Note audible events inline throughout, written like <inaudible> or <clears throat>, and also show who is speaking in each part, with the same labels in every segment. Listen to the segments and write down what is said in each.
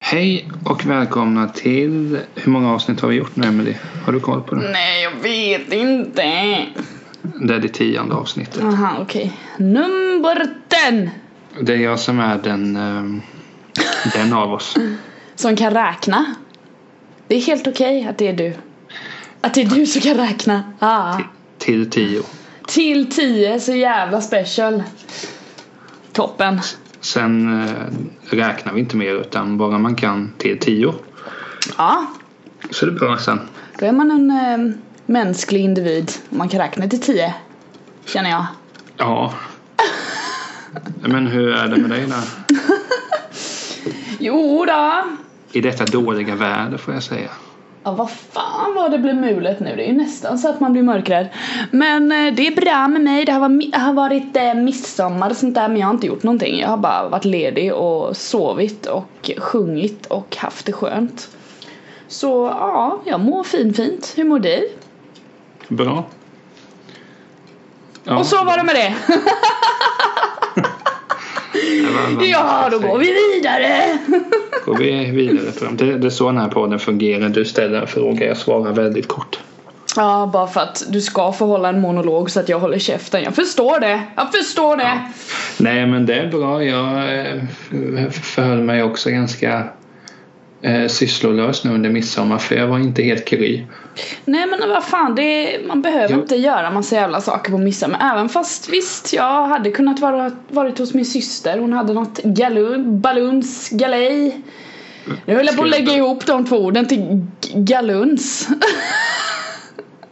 Speaker 1: Hej och välkomna till... Hur många avsnitt har vi gjort nu Emelie? Har du koll på det?
Speaker 2: Nej, jag vet inte. Mm.
Speaker 1: Det är det tionde avsnittet.
Speaker 2: Aha, okej. Nummer 10.
Speaker 1: Det är jag som är den, ehm, den av oss.
Speaker 2: Som kan räkna. Det är helt okej att det är du. Att det är du som kan räkna. Ah.
Speaker 1: Till tio.
Speaker 2: Till 10, så jävla special. Toppen.
Speaker 1: Sen eh, räknar vi inte mer utan bara man kan till tio.
Speaker 2: Ja,
Speaker 1: Så det är bra sen.
Speaker 2: då är man en eh, mänsklig individ om man kan räkna till 10. Känner jag.
Speaker 1: Ja. Men hur är det med dig där?
Speaker 2: Jo då.
Speaker 1: I detta dåliga väder får jag säga.
Speaker 2: Ja, vad fan vad det blev mulet nu. Det är ju nästan så att man blir mörkrädd. Men eh, det är bra med mig. Det har, var, mi- har varit eh, midsommar och sånt där men jag har inte gjort någonting. Jag har bara varit ledig och sovit och sjungit och haft det skönt. Så ja, jag mår finfint. Hur mår du?
Speaker 1: Bra. Ja,
Speaker 2: Och så var det med det.
Speaker 1: det var vad man
Speaker 2: <laughs> Ja,
Speaker 1: ska
Speaker 2: då
Speaker 1: säga.
Speaker 2: går vi vidare.
Speaker 1: går vi vidare fram. Det, det är så den här podden fungerar. Du ställer en fråga, jag svarar väldigt kort.
Speaker 2: Ja, bara för att du ska få hålla en monolog så att jag håller käften. Jag förstår det. Jag förstår det.
Speaker 1: Nej men det är bra. Jag eh, förhöll mig också ganska eh, sysslolös nu under midsommar för jag var inte helt kry.
Speaker 2: Nej men vad fan, det, man behöver
Speaker 1: Jo.
Speaker 2: inte göra massa jävla saker på midsommar. Även fast visst, jag hade kunnat vara varit hos min syster. Hon hade något galun, baluns, galej. Nu höll jag på att
Speaker 1: Ska jag
Speaker 2: lägga
Speaker 1: ta-
Speaker 2: ihop de två orden till g- galuns.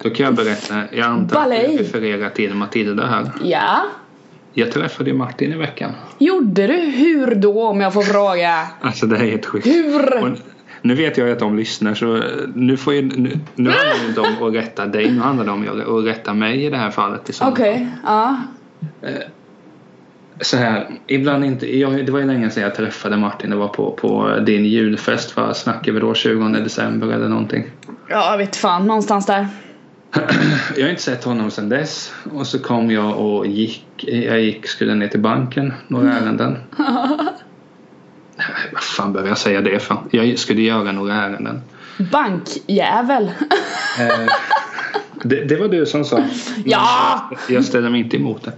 Speaker 1: Då kan jag berätta. Jag antar att
Speaker 2: Balej.
Speaker 1: du refererar till Matilda här.
Speaker 2: ja,
Speaker 1: Jag träffade ju Martin i veckan.
Speaker 2: gjorde du? Hur då om jag får fråga?
Speaker 1: Alltså det här är helt sjukt.
Speaker 2: Hur?
Speaker 1: Och nu vet jag ju att de lyssnar så nu får ju, nu, nu handlar det inte om att rätta dig. Nu handlar det om att rätta mig i det här fallet. i sådana
Speaker 2: Okej,
Speaker 1: fall.
Speaker 2: ja.
Speaker 1: så här, ibland inte, jag, det var ju länge sedan jag träffade Martin, det var på, på din julfest, vad snackar vi då, 20 december eller någonting.
Speaker 2: Ja, jag vet fan, någonstans där.
Speaker 1: Jag har inte sett honom sedan dess och så kom jag och gick, jag gick, skulle ner till banken, några ärenden. Nej, Vad fan behöver jag säga det för? Jag skulle göra några ärenden.
Speaker 2: Bankjävel.
Speaker 1: Eh, det, det var du som sa.
Speaker 2: ja!
Speaker 1: Jag ställer mig inte emot det.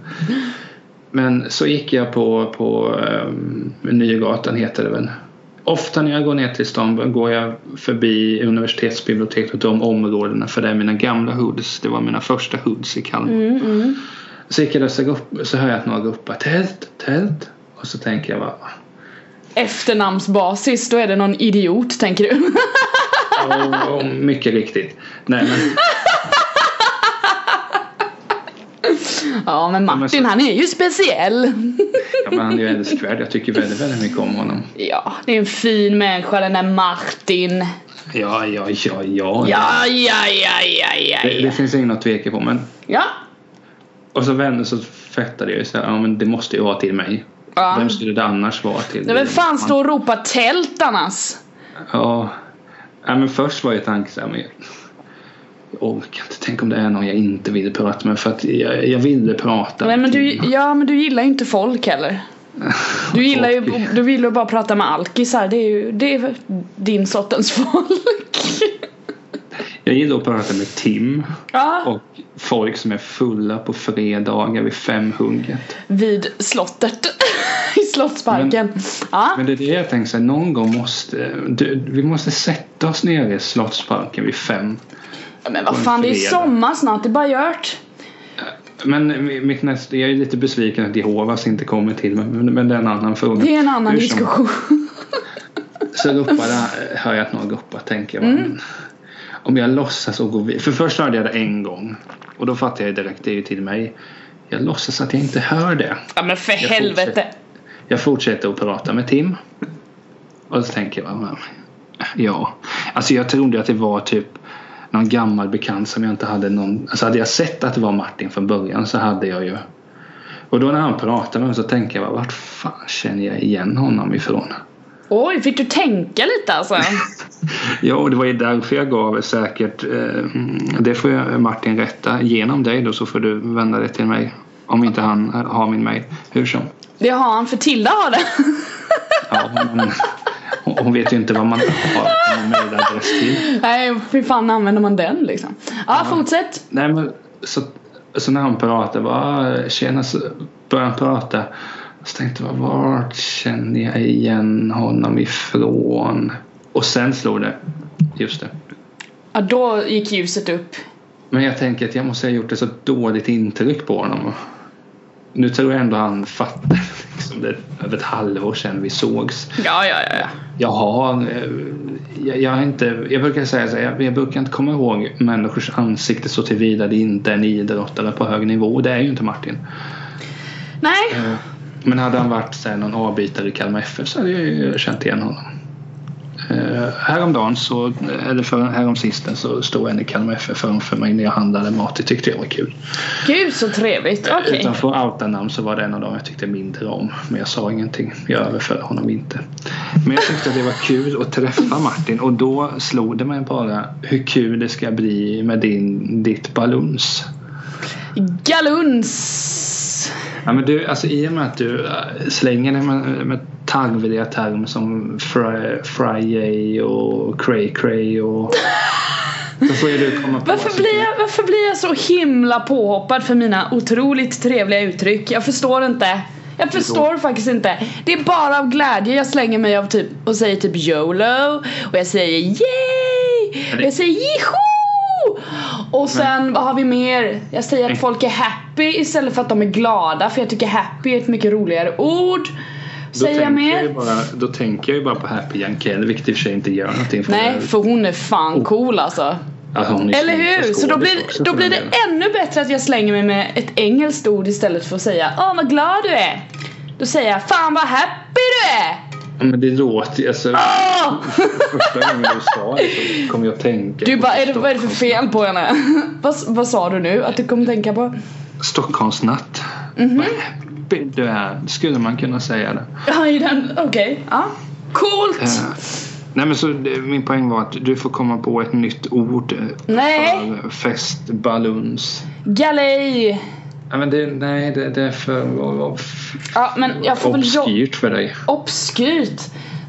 Speaker 1: Men så gick jag på, på um, Nygatan heter det väl. Ofta när jag går ner till stan går jag förbi universitetsbiblioteket och de områdena för det är mina gamla hoods. Det var mina första hoods i Kalmar.
Speaker 2: Mm, mm.
Speaker 1: Så gick jag där så, går upp, så hör jag att några ropar tält, tält. Och så tänker jag bara
Speaker 2: Efternamnsbasis, då är det någon idiot tänker du. <laughs>
Speaker 1: oh, oh, mycket riktigt. Nej men
Speaker 2: Ja men
Speaker 1: men
Speaker 2: Martin
Speaker 1: så-
Speaker 2: han är ju speciell.
Speaker 1: ja, men han är ju älskvärd. Jag tycker väldigt, väldigt mycket om honom.
Speaker 2: Ja, det är en fin människa den där Martin.
Speaker 1: Ja, ja, ja, ja.
Speaker 2: Ja, ja, ja, ja, ja.
Speaker 1: Det, det
Speaker 2: ja.
Speaker 1: finns ingen att tveka på. Men
Speaker 2: Ja.
Speaker 1: Och så vände så fattade jag ju så här, ja men det måste ju vara till mig.
Speaker 2: ja.
Speaker 1: Vem skulle det annars vara till?
Speaker 2: Nej men fan stå och ropa tält annars.
Speaker 1: Ja. ja, men först var ju tanken så här, men jag, jag orkar inte. Tänk om det är någon jag inte vill prata med för att jag, jag ville prata.
Speaker 2: Nej
Speaker 1: med
Speaker 2: men du,
Speaker 1: Tina.
Speaker 2: ja men du gillar ju inte folk heller. Du gillar ju
Speaker 1: Okej.
Speaker 2: du vill ju bara prata med alkisar, det är ju det är din sortens folk.
Speaker 1: Jag gillar att prata med Tim
Speaker 2: Ja,
Speaker 1: och folk som är fulla på fredagar vid femhugget.
Speaker 2: vid slottet. <laughs> I Slottsparken. Ja,
Speaker 1: Men det är det jag tänker så här, någon gång måste du, vi måste sätta oss nere i Slottsparken vid fem.
Speaker 2: men vad
Speaker 1: på en
Speaker 2: fan det är ju
Speaker 1: fredag.
Speaker 2: sommar snart, det är bara gjort.
Speaker 1: Men mitt nästa, jag är lite besviken att Jehovas inte kommer till mig, men, men det är en annan fråga.
Speaker 2: Det är en annan
Speaker 1: Hur som-
Speaker 2: diskussion.
Speaker 1: Så ropade, hör jag att någon ropar, tänker jag.
Speaker 2: Mm.
Speaker 1: men Om jag låtsas och gå vidare. För först hörde jag det en gång och då fattade jag direkt, det är ju till mig. Jag låtsas att jag inte hör det.
Speaker 2: Ja men för
Speaker 1: Jag
Speaker 2: helvete.
Speaker 1: fortsätter. Jag fortsätter att prata med Tim. Och så tänker jag, "Ja, ja. Alltså jag trodde att det var typ någon gammal bekant som jag inte hade någon. Alltså hade jag sett att det var Martin från början så hade jag ju. Och då när han pratade med mig så tänker jag, vart fan känner jag igen honom ifrån?
Speaker 2: Oj, fick du tänka lite alltså?
Speaker 1: <laughs> Ja, och det var ju därför jag gav säkert, eh, det får jag Martin rätta genom dig då så får du vända dig till mig. Om inte han har min mail. Hur som.
Speaker 2: Det har han, för Tilda har det.
Speaker 1: Ja, hon, Hon hon vet ju inte vad man har en mailadress till.
Speaker 2: <laughs> Nej, fy fan använder man den liksom? Ja, fortsätt.
Speaker 1: Nej men så, så när han pratade, bara tjena så började han prata. Så tänkte jag, vart känner jag igen honom ifrån? Och sen slog det. Just det.
Speaker 2: Ja, då gick ljuset upp.
Speaker 1: Men jag tänker att jag måste ha gjort ett så dåligt intryck på honom. Nu tror jag ändå han fattar. Liksom det är över ett halvår sedan vi sågs.
Speaker 2: Ja, ja, ja. ja.
Speaker 1: Jag har... eh, Jag, jag, har inte, jag brukar säga så här, jag, jag brukar inte komma ihåg människors ansikte så tillvida det inte är en idrottare på hög nivå. Det är ju inte Martin.
Speaker 2: Nej,
Speaker 1: Eh, Men hade han varit så här, någon avbytare i Kalmar FF så hade jag ju känt igen honom. Eh, Häromdagen, så, eller för, häromsisten, så stod en i Kalmar FF framför mig när jag handlade mat. Det tyckte jag var kul.
Speaker 2: gud så trevligt. Okej.
Speaker 1: Utanför outarnamn så var det en av dem jag tyckte mindre om. Men jag sa ingenting. Jag överföll honom inte. Men jag tyckte att det var kul att träffa Martin och då slog det mig bara hur kul det ska bli med din, ditt baluns.
Speaker 2: Galuns.
Speaker 1: Ja, men du, alltså, I och med att du äh, slänger dig med, med tarvliga termer som fri- Friday och Cray Cray
Speaker 2: <laughs>
Speaker 1: och... Då får ju du komma på...
Speaker 2: Varför blir, jag, varför blir jag så himla påhoppad för mina otroligt trevliga uttryck? Jag förstår inte. Jag förstår faktiskt inte. Det är bara av glädje jag slänger mig av typ och säger typ YOLO och jag säger yay!
Speaker 1: Ja,
Speaker 2: Och
Speaker 1: det-
Speaker 2: jag säger jiho! Och sen vad har vi mer? Jag säger att folk är happy istället för att de är glada för jag tycker happy är ett mycket roligare ord.
Speaker 1: då,
Speaker 2: Säger jag
Speaker 1: tänker jag ju
Speaker 2: mer?
Speaker 1: bara, då tänker jag ju bara på Happy Jankell, vilket i och för sig inte gör någonting. För
Speaker 2: Nej, för hon är
Speaker 1: Oh.
Speaker 2: fan cool alltså.
Speaker 1: Alltså, hon är
Speaker 2: Eller hur? Så då
Speaker 1: skådis
Speaker 2: blir,
Speaker 1: också,
Speaker 2: då
Speaker 1: för
Speaker 2: blir det
Speaker 1: den delen.
Speaker 2: ännu bättre att jag slänger mig med ett engelskt ord istället för att säga Åh vad glad du är! Då säger jag Fan vad happy du är!
Speaker 1: Ja, Men det låter ju... Alltså,
Speaker 2: Ah! Åh!
Speaker 1: första gången du sa det så kom jag att tänka
Speaker 2: Du
Speaker 1: på
Speaker 2: bara, är det, vad är det för
Speaker 1: Stockholms-
Speaker 2: fel på henne? <laughs> vad, vad sa du nu att du kom tänka på?
Speaker 1: Stockholmsnatt.
Speaker 2: Mhm.
Speaker 1: Vad happy Du är, skulle man kunna säga det.
Speaker 2: Ja, i den, okej. Ja. Coolt!
Speaker 1: Eh, Nej men så det- min poäng var att du får komma på ett nytt ord eh,
Speaker 2: Nej!
Speaker 1: för festbaluns.
Speaker 2: Galej!
Speaker 1: Ja, men det, nej, det, det är för
Speaker 2: Ja, men jag får väl jobba...
Speaker 1: obskyrt för dig.
Speaker 2: Obskyrt?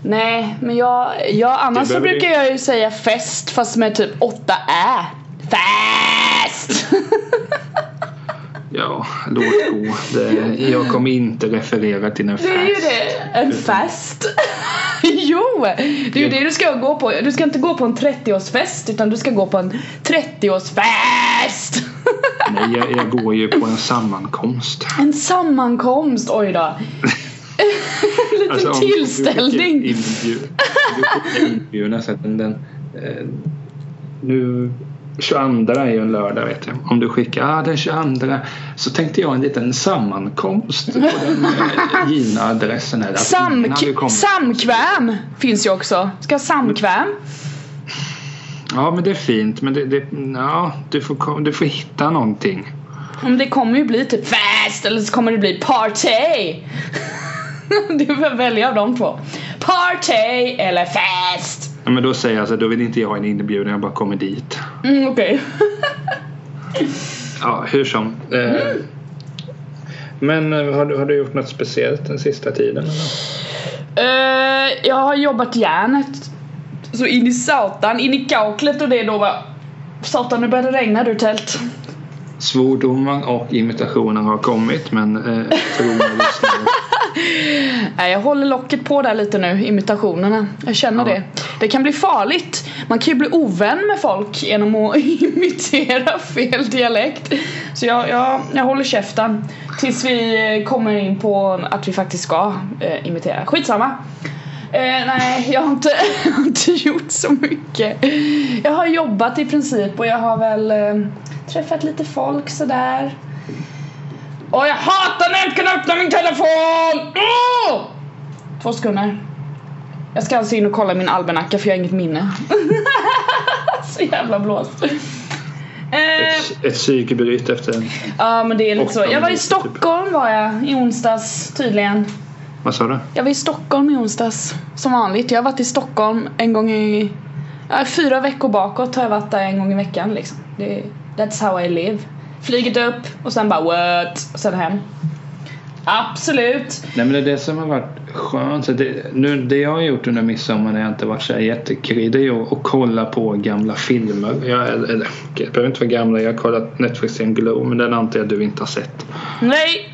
Speaker 2: Nej, men jag, jag annars
Speaker 1: Du
Speaker 2: så
Speaker 1: behöver
Speaker 2: brukar jag ju säga fest fast med typ 8 ä. Fest! <laughs>
Speaker 1: Ja, låt gå. Det, jag kommer inte referera till en fest.
Speaker 2: Det är ju det. En fest. <laughs> jo! Det är ju det du ska gå på. Du ska inte gå på en 30-årsfest utan du ska gå på en 30-årsfest!
Speaker 1: Nej, jag, jag går ju på en sammankomst.
Speaker 2: <laughs> en sammankomst, oj då. en liten
Speaker 1: Alltså, om du
Speaker 2: tillställning.
Speaker 1: blir inbjud- Du blir inbjuden så att den, den eh, nu 22 är ju en lördag vet jag. Om du skickar ah, den 22 så tänkte jag en liten sammankomst på den eh, givna adressen. Här, Att ingen hade
Speaker 2: Samk-
Speaker 1: kommit.
Speaker 2: samkväm finns ju också. Ska ha samkväm.
Speaker 1: Ja men det är fint men det, det, ja, du, får, kom- du får hitta någonting.
Speaker 2: Men det kommer ju bli typ fest eller så kommer det bli party! <laughs> du får välja av de två. Party eller fest!
Speaker 1: Ja, men då säger jag så här, då vill inte jag ha en inbjudan jag bara kommer dit.
Speaker 2: Mm, Okej.
Speaker 1: Ja hur som. Eh,
Speaker 2: Mm.
Speaker 1: Men eh, har du, har du gjort något speciellt den sista tiden? Eller?
Speaker 2: Eh, jag har jobbat järnet. Så in i satan, in i kaklet och det då va. Satan nu börjar det regna du tält.
Speaker 1: Svordomar och imitationer har kommit men eh, tror mig lyssnare.
Speaker 2: Nej jag håller locket på där lite nu, imitationerna. Jag känner
Speaker 1: Ja.
Speaker 2: det. Det kan bli farligt. Man kan ju bli ovän med folk genom att <laughs> imitera fel dialekt. Så jag, jag, jag håller käften. Tills vi eh, kommer in på att vi faktiskt ska eh, imitera. Skitsamma. Eh, nej, jag har, inte, <laughs> jag har inte gjort så mycket. Jag har jobbat i princip och jag har väl eh, träffat lite folk sådär. Och jag hatar när jag inte kan öppna min telefon! Åh! Två sekunder. Jag ska alltså in och kolla min almanacka för jag har inget minne. <laughs> så jävla blåst. Eh,
Speaker 1: Ett, ett psykbryt efter en...
Speaker 2: ja men det är lite så.
Speaker 1: Åtta
Speaker 2: Jag var i
Speaker 1: minuter, typ.
Speaker 2: Stockholm var jag i onsdags tydligen.
Speaker 1: Vad sa du?
Speaker 2: Jag var i Stockholm i onsdags som vanligt. Jag har varit i Stockholm en gång i... ja, Fyra veckor bakåt har jag varit där en gång i veckan liksom. Det, that's how I live. Flyget upp och sen bara what? Och sen hem. Absolut.
Speaker 1: Nej men det är det som har varit skönt. Så det, nu, det jag har gjort under midsommar när jag inte varit så här jättekry det är ju att kolla på gamla filmer. Jag, eller, eller, det behöver inte vara gamla. Jag har kollat Netflix-serien Glow men den antar jag du inte har sett.
Speaker 2: Nej!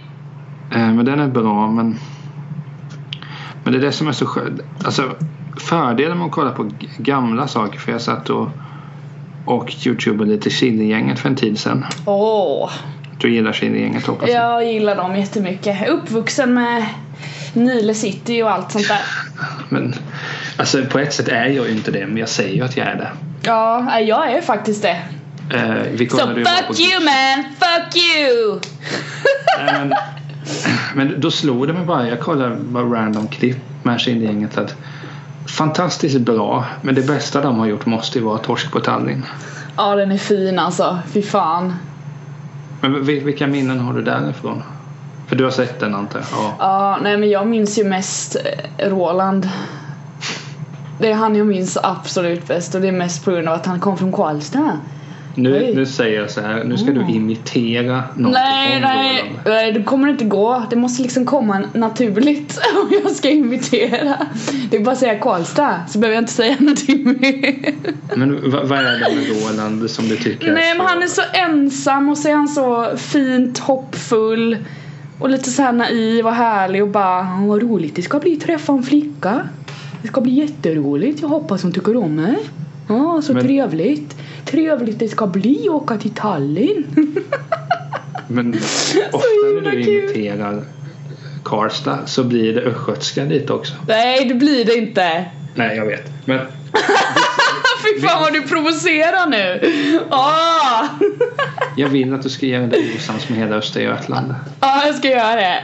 Speaker 1: Eh, men den är bra men men det är det som är så skönt. Alltså, fördelen med att kolla på g- gamla saker för jag satt och och youtubade lite Killegänget för en tid sedan.
Speaker 2: Åh!
Speaker 1: Du gillar Killegänget hoppas jag.
Speaker 2: Jag gillar dem jättemycket. Uppvuxen med Nile City och allt sånt där.
Speaker 1: Men alltså på ett sätt är jag ju inte det men jag säger ju att jag är det.
Speaker 2: Ja, nej, jag är faktiskt det.
Speaker 1: Eh, vi
Speaker 2: Så
Speaker 1: kollade ju bara på-
Speaker 2: fuck you man! Fuck you!
Speaker 1: Nej, men, men då slog det mig bara. Jag kollade bara random klipp med Kindgänget att fantastiskt bra. Men det bästa de har gjort måste ju vara Torsk på Tallinn.
Speaker 2: Ja, den är fin alltså. Fy fan.
Speaker 1: Men vil- vilka minnen har du därifrån? För du har sett den antar jag? Ja.
Speaker 2: Ja, nej men jag minns ju mest eh, Roland. Det är han jag minns absolut bäst och det är mest på grund av att han kom från Karlstad.
Speaker 1: Nu,
Speaker 2: Oj. Mm.
Speaker 1: nu säger jag så här. Nu ska du imitera någonting
Speaker 2: Nej,
Speaker 1: om
Speaker 2: nej,
Speaker 1: Roland.
Speaker 2: nej, det kommer inte gå. Det måste liksom komma naturligt <laughs> om jag ska imitera. Det är bara att säga Karlstad så behöver jag inte säga <laughs> någonting mer.
Speaker 1: Men vad, vad är det med Roland som du tycker
Speaker 2: Nej men han är så ensam och så är han så fint hoppfull och lite så här naiv och härlig och bara "Ja, vad roligt det ska bli att träffa en flicka. Det ska bli jätteroligt, jag hoppas hon tycker om mig. Ja, så
Speaker 1: Men-
Speaker 2: trevligt. Trevligt det ska bli att åka till Tallinn. <laughs>
Speaker 1: Men ofta
Speaker 2: himla
Speaker 1: när du
Speaker 2: kul.
Speaker 1: imiterar Karlstad så blir det östgötska lite också.
Speaker 2: <laughs> Nej det blir det inte.
Speaker 1: Nej, jag vet. Men
Speaker 2: Fy fan vad du provocerar nu. Ah!
Speaker 1: Jag vill att du ska göra det osams med hela
Speaker 2: <laughs>
Speaker 1: Östergötland.
Speaker 2: Ja, Ah, jag ska göra det.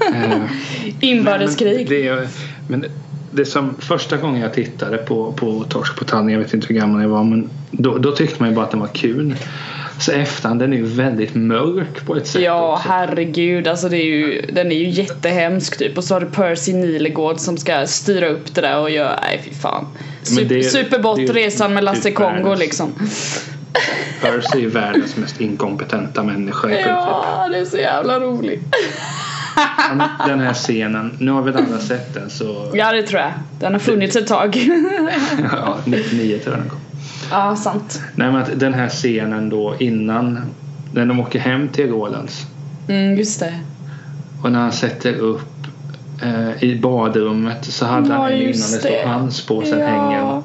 Speaker 1: Eh, Men
Speaker 2: Inbördeskrig.
Speaker 1: det, är- men det som första gången jag tittade på, på Torsk på Tallinn, jag vet inte hur gammal jag var, men då, då tyckte man ju bara att den var kul. Så efterhand, den är ju väldigt mörk på ett sätt.
Speaker 2: Ja,
Speaker 1: också.
Speaker 2: herregud. Alltså det är ju, den är ju jättehemsk typ. Och så har du Percy Nilegård som ska styra upp det där och göra... Nej, fy fan.
Speaker 1: Men
Speaker 2: Super,
Speaker 1: det är-
Speaker 2: superbott
Speaker 1: det är ju
Speaker 2: resan med Lasse
Speaker 1: typ
Speaker 2: Kongo
Speaker 1: världens- <laughs>
Speaker 2: liksom.
Speaker 1: Percy är världens mest inkompetenta människa. i princip.
Speaker 2: Ja, det är så jävla roligt.
Speaker 1: Ja, men Den här scenen, nu har väl alla sett den så...
Speaker 2: Ja, det tror jag. Den har funnits ett tag. <laughs>
Speaker 1: Ja, 99 tror jag den kom.
Speaker 2: ja, sant.
Speaker 1: Nej men att den här scenen då innan, när de åker hem till Rolands.
Speaker 2: Mm, just det.
Speaker 1: Och när han sätter upp eh, i badrummet så hade
Speaker 2: Ja,
Speaker 1: han en innan det
Speaker 2: just
Speaker 1: stod
Speaker 2: det.
Speaker 1: hans på. Sen
Speaker 2: Ja.
Speaker 1: hänger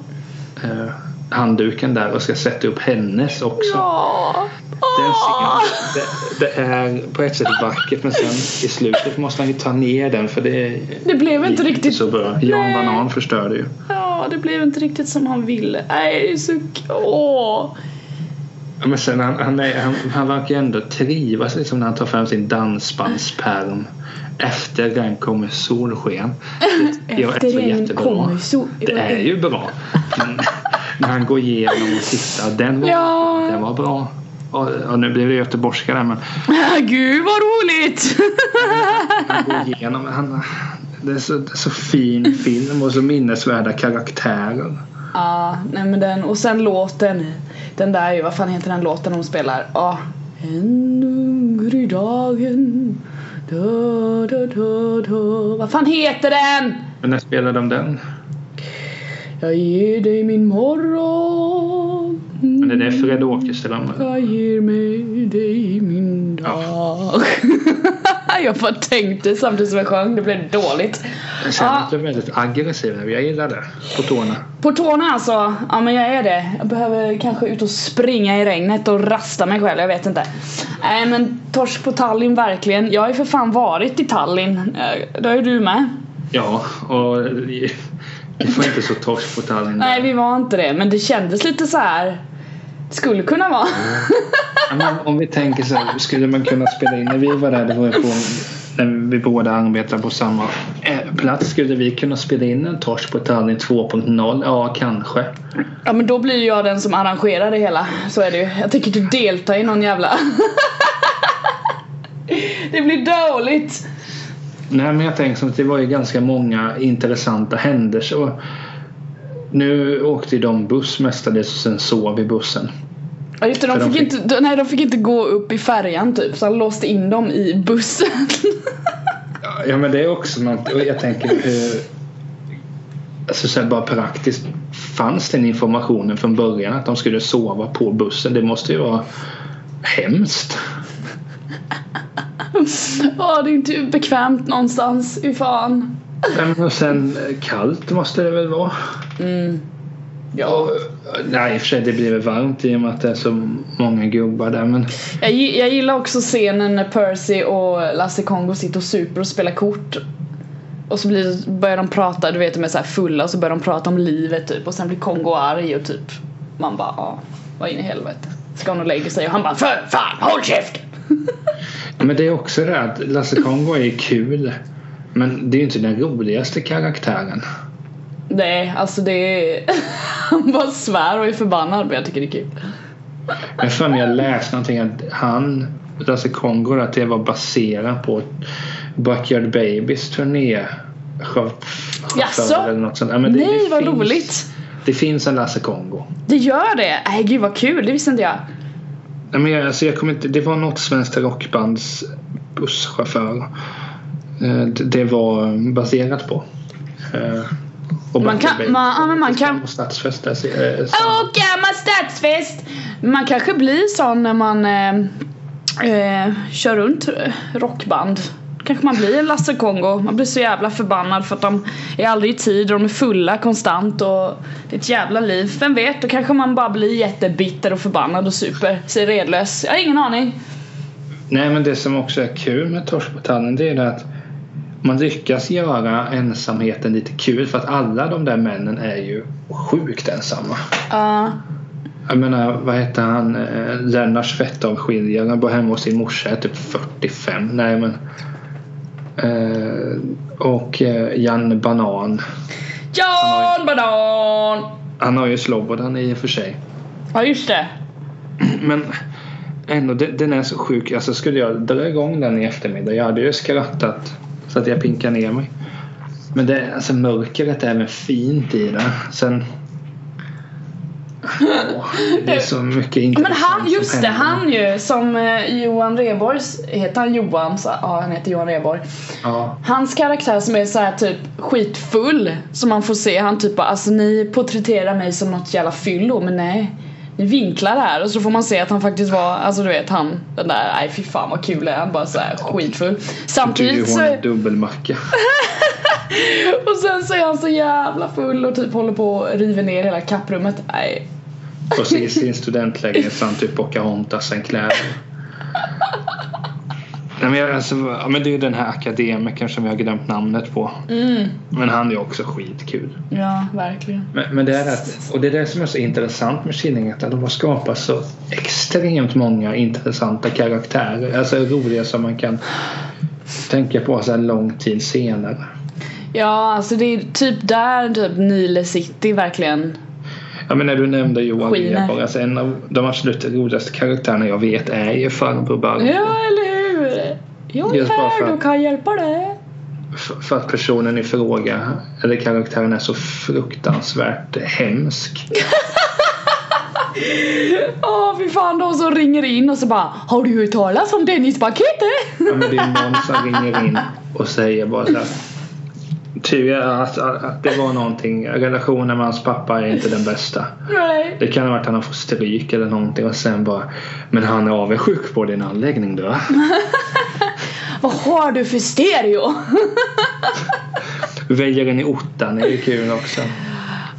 Speaker 1: eh, handduken där och ska sätta upp hennes också.
Speaker 2: Ja. Ah!
Speaker 1: Den
Speaker 2: Åh!
Speaker 1: scenen, det, det är på ett sätt vackert men sen i slutet måste han ju ta ner den för det
Speaker 2: Det blev
Speaker 1: gick
Speaker 2: inte riktigt
Speaker 1: så bra. Jan
Speaker 2: Nej.
Speaker 1: Banan förstörde ju.
Speaker 2: Ja, det blev inte riktigt som han ville. Nej, det är så... Åh!
Speaker 1: Ja, Men sen han, han, är, han, han verkar ju ändå trivas liksom när han tar fram sin dansbandspärm efter regn kommer solsken. Det var
Speaker 2: Efter
Speaker 1: så
Speaker 2: regn
Speaker 1: jättebra.
Speaker 2: kommer sol-
Speaker 1: Det är
Speaker 2: <laughs>
Speaker 1: ju bra. Men när han går igenom och tittar. Den var,
Speaker 2: Ja.
Speaker 1: den var bra. Och, och nu blir det göteborgska där men
Speaker 2: Gud vad roligt!
Speaker 1: han går igenom. Han, det, är så, det är så fin film och så minnesvärda karaktärer.
Speaker 2: <laughs> Ja, nej men den och sen låten. Den där ju, vad fan heter den låten de spelar? Ja. En hungrig dagen. Da, da, da, da. Vad fan heter den?
Speaker 1: Men när spelade de den?
Speaker 2: Jag ger dig min morgon.
Speaker 1: Men det är det Fred Åkerström.
Speaker 2: Jag ger mig dig min dag. <laughs> jag bara tänkte samtidigt som jag sjöng, det blev dåligt.
Speaker 1: Sen
Speaker 2: Ja.
Speaker 1: ah. blev väldigt aggressiv nu. Jag gillar det. På tårna.
Speaker 2: På tårna alltså, ja men jag är det. Jag behöver kanske ut och springa i regnet och rasta mig själv, jag vet inte. Nej men torsk på Tallinn verkligen. Jag har ju för fan varit i Tallinn. Eh, Det har ju du med.
Speaker 1: Ja, och vi vi får inte så torsk på Tallinn.
Speaker 2: Nej vi var inte det, men det kändes lite så här. Skulle kunna vara.
Speaker 1: Ja, Men om vi tänker så här, skulle man kunna spela in när vi var där, det var ju på, när vi båda arbetar på samma eh, plats, skulle vi kunna spela in en torsk på Tallinn 2.0? Ja, kanske.
Speaker 2: Ja men då blir ju jag den som arrangerar det hela. Så är det ju. Jag tänker inte delta i någon jävla... <laughs> det blir dåligt.
Speaker 1: Nej, men jag tänker så att det var ju ganska många intressanta händelser. Och Nu åkte ju de buss mestadels och sen sov i bussen.
Speaker 2: Ja just det, de
Speaker 1: För de
Speaker 2: fick,
Speaker 1: fick-
Speaker 2: Inte, nej, de fick inte gå upp i färjan typ så han låste in dem i bussen.
Speaker 1: Ja men det är också något, och jag tänker hur, alltså så här bara praktiskt, fanns den informationen från början att de skulle sova på bussen? Det måste ju vara hemskt.
Speaker 2: <laughs> Ja, det är inte bekvämt någonstans. Fy fan.
Speaker 1: Nej, men Och sen eh, kallt måste det väl vara?
Speaker 2: Ja.
Speaker 1: Och, nej i och för sig det blir väl varmt i och med att det är så många gubbar där men
Speaker 2: Jag, gi- jag gillar också scenen när Percy och Lasse Kongo sitter och super och spelar kort. Och så blir, börjar de prata, du vet de är så här fulla, så börjar de prata om livet typ och sen blir Kongo arg och typ man bara ja, vad in i helvete. Ska hon och lägga sig och han bara för fan håll käften!
Speaker 1: Ja, Men det är också det att Lasse Kongo är kul. Men det är ju inte den roligaste karaktären.
Speaker 2: Nej, alltså det är... <laughs> Han bara svär och är förbannad men jag tycker det är kul.
Speaker 1: Jag har för mig jag läste någonting att han, Lasse Kongo, att det var baserat på Backyard Babies turné.
Speaker 2: Jaså?
Speaker 1: eller något sånt. Ja, men det,
Speaker 2: Nej,
Speaker 1: det
Speaker 2: vad
Speaker 1: finns,
Speaker 2: roligt!
Speaker 1: Det finns en Lasse Kongo.
Speaker 2: Det gör det! Nej gud vad kul, det visste inte jag.
Speaker 1: Nej, men jag, alltså jag kommer inte, det var något svenskt rockbands busschaufför. Eh, Det, det var baserat på. Eh, Och
Speaker 2: Man
Speaker 1: Backyard
Speaker 2: kan-
Speaker 1: Babies
Speaker 2: man- ja, men man kan-
Speaker 1: på Stadsfest där, så- eh, så-
Speaker 2: Och gammal stadsfest! Man kanske blir sån när man eh, eh, kör runt eh, rockband. Kanske man blir en Lasse Kongo. Man blir så jävla förbannad för att de är aldrig i tid och de är fulla konstant och det är ett jävla liv. Vem vet, då kanske man bara blir jättebitter och förbannad och super sig redlös. Jag har ingen aning.
Speaker 1: Nej men det som också är kul med Torsk på tannen det är det att man lyckas göra ensamheten lite kul för att alla de där männen är ju sjukt ensamma.
Speaker 2: Ja,
Speaker 1: Jag menar vad heter han? Eh, Lennart Svettavskiljaren bor hemma hos sin morsa är typ 45. Nej men eh, och eh, Janne Banan.
Speaker 2: Jan Banan!
Speaker 1: Han har ju Slobodan i och för sig.
Speaker 2: Ja just det.
Speaker 1: Men ändå, de- den är så sjuk. Alltså skulle jag dra igång den i eftermiddag, jag hade ju skrattat så att jag pinkade ner mig. Men det, alltså mörkret är väl fint i det. Sen... Åh, det är så mycket
Speaker 2: Ja, Men
Speaker 1: intressant
Speaker 2: han,
Speaker 1: som
Speaker 2: just det,
Speaker 1: händer.
Speaker 2: han ju som eh, Johan Reborg, heter han Johan? Så, ja han heter Johan Reborg.
Speaker 1: Ja.
Speaker 2: Hans karaktär som är så här typ skitfull som man får se, han typ bara alltså ni porträtterar mig som något jävla fyllo men nej. Ni vinklar det här och så får man se att han faktiskt var, alltså du vet han den där, nej fy fan vad kul är han bara så här skitfull.
Speaker 1: Du
Speaker 2: Samtidigt
Speaker 1: hon
Speaker 2: så,
Speaker 1: en dubbelmacka.
Speaker 2: och sen så är han så jävla full och typ håller på och river ner hela kapprummet. Nej.
Speaker 1: Och
Speaker 2: <laughs>
Speaker 1: så i sin studentlägenhet så han typ Pocahontas sen kläder. Nej, men, jag, alltså, ja, men det är ju den här akademikern som jag har glömt namnet på.
Speaker 2: Mm.
Speaker 1: Men han är också skitkul.
Speaker 2: Ja, verkligen.
Speaker 1: Men, men det är att, och det är det som är så intressant med Killinget, att de har skapat så extremt många intressanta karaktärer. Alltså roliga som man kan tänka på så här lång tid senare.
Speaker 2: Ja, alltså det är typ där typ Nile City verkligen
Speaker 1: Ja men när du nämnde Johan
Speaker 2: Skiner.
Speaker 1: Reborg, alltså en av de absolut roligaste karaktärerna jag vet är ju farbror Barbro.
Speaker 2: Ja, eller hur? Jag är
Speaker 1: Just bara för
Speaker 2: här
Speaker 1: att-
Speaker 2: och kan hjälpa dig.
Speaker 1: F- För att personen i fråga, eller karaktären, är så fruktansvärt hemsk.
Speaker 2: Åh, fy fan, de som ringer in och så bara Har du hört talas om Dennispaketet?
Speaker 1: Ja, men det är någon som ringer in och säger bara så här. Tur att, att, att det var någonting. Relationen med hans pappa är inte den bästa.
Speaker 2: Nej.
Speaker 1: Det kan ha varit att han får stryk eller någonting och sen bara Men han är avundsjuk på din anläggning då.
Speaker 2: Vad har du för stereo?
Speaker 1: Väjaren i ottan är ju kul också.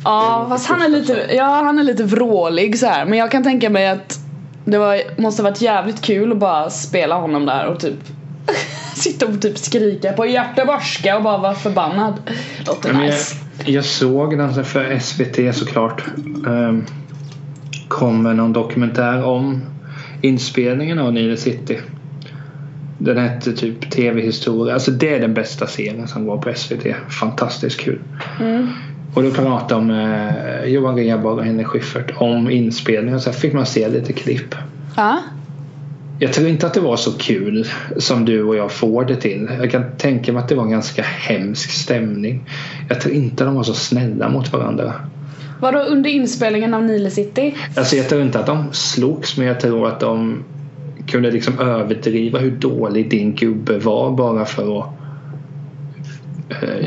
Speaker 2: Ja, fast han är lite, ja, han är lite vrålig så här. Men jag kan tänka mig att det var, måste ha varit jävligt kul att bara spela honom där och typ <laughs> Sitta och typ skrika på hjärtebarska och bara vara förbannad. Låter
Speaker 1: Men jag,
Speaker 2: nice.
Speaker 1: jag såg den så för SVT såklart. Um, kommer någon dokumentär om inspelningen av Nile City. Den hette typ TV-historia. Alltså det är den bästa serien som går på SVT. Fantastiskt kul.
Speaker 2: Mm.
Speaker 1: Och då pratade om eh, Johan Rheborg och Henrik Schyffert om inspelningen. Så här fick man se lite klipp.
Speaker 2: Ja.
Speaker 1: Jag tror inte att det var så kul som du och jag får det till. Jag kan tänka mig att det var en ganska hemsk stämning. Jag tror inte de var så snälla mot varandra.
Speaker 2: Vadå under inspelningen av Nile City?
Speaker 1: Alltså jag tror inte att de slogs men jag tror att de kunde liksom överdriva hur dålig din gubbe var bara för att eh,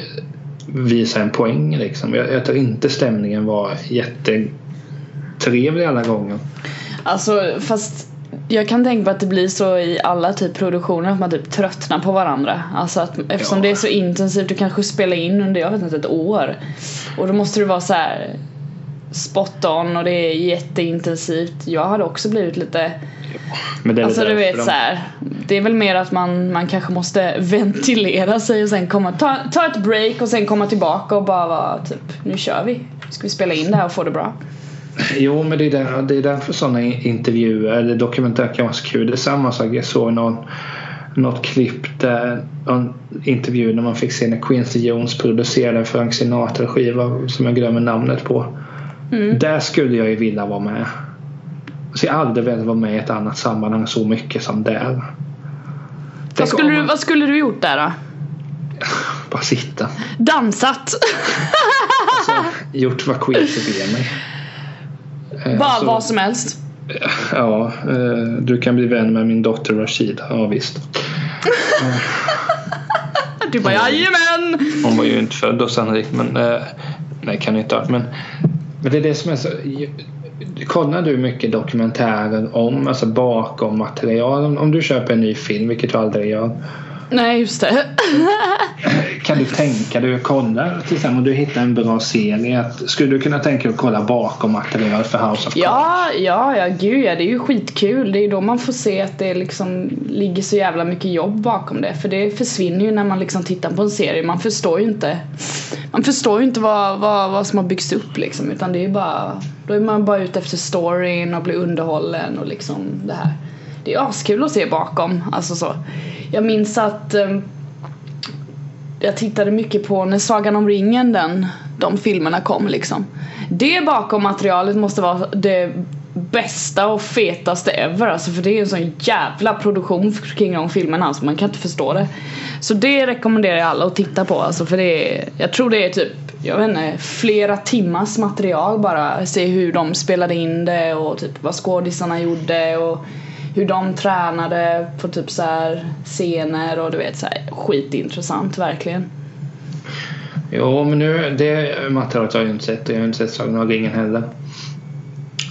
Speaker 1: visa en poäng liksom. Jag, jag tror inte stämningen var jättetrevlig alla gånger.
Speaker 2: Alltså fast jag kan tänka på att det blir så i alla typ produktioner att man typ tröttnar på varandra. Alltså att eftersom
Speaker 1: Ja.
Speaker 2: det är så intensivt, du kanske spelar in under jag vet inte ett år. Och då måste du vara så här spot on och det är jätteintensivt. Jag hade också blivit lite,
Speaker 1: Men det är väl
Speaker 2: alltså du
Speaker 1: därför
Speaker 2: vet
Speaker 1: de-
Speaker 2: så här. Det är väl mer att man, man kanske måste <laughs> ventilera sig och sen komma, ta, ta ett break och sen komma tillbaka och bara vara typ nu kör vi. Ska vi spela in det här och få det bra?
Speaker 1: Jo, men det är, där, det är därför sådana i- intervjuer eller dokumentärer kan vara så kul. Det är samma sak, jag såg någon, något klipp där, någon intervju när man fick se när Quincy Jones producerade en Frank Sinatra-skiva som jag glömmer namnet på.
Speaker 2: Mm.
Speaker 1: Där skulle jag ju vilja vara med. Så jag har aldrig velat vara med i ett annat sammanhang så mycket som där.
Speaker 2: Vad
Speaker 1: Tänk om
Speaker 2: skulle, du,
Speaker 1: man-
Speaker 2: vad skulle du gjort där då?
Speaker 1: Bara sitta.
Speaker 2: Dansat! <laughs>
Speaker 1: Gjort vad Quincy ber mig. Eh,
Speaker 2: Bara
Speaker 1: så-
Speaker 2: vad som helst.
Speaker 1: Ja, eh, du kan bli vän med min dotter Rashida. Ja, visst.
Speaker 2: Du bara jajamän!
Speaker 1: Hon var ju inte född då sannolikt, men eh, nej kan inte ha. Men, men det är det som är så. Kollar du mycket dokumentärer om, alltså bakom material? Om, om du köper en ny film, vilket du aldrig gör.
Speaker 2: Nej just det.
Speaker 1: Kan du tänka dig att kolla, till exempel om du hittar en bra serie, att, skulle du kunna tänka dig att kolla bakom material för House of Cards?
Speaker 2: <laughs> Ja, ja, ja gud ja, det är ju skitkul. Det är ju då man får se att det liksom ligger så jävla mycket jobb bakom det. För det försvinner ju när man liksom tittar på en serie. Man förstår ju inte, man förstår ju inte vad, vad, vad som har byggts upp liksom. Utan det är ju bara, då är man bara ute efter storyn och blir underhållen och liksom det här. Det är askul att se bakom, alltså så. Jag minns att ehm, jag tittade mycket på när Sagan om ringen den, de filmerna kom liksom. Det bakom materialet måste vara det bästa och fetaste ever alltså för det är en sån jävla produktion kring de filmerna alltså man kan inte förstå det. Så det rekommenderar jag alla att titta på alltså för det är, jag tror det är typ, jag vet inte, flera timmars material bara. Se hur de spelade in det och typ vad skådisarna gjorde och hur de tränade på typ så här scener och du vet så här skitintressant verkligen.
Speaker 1: Jo, men nu, det materialet har jag ju inte sett och jag har inte sett Sagan om ringen heller.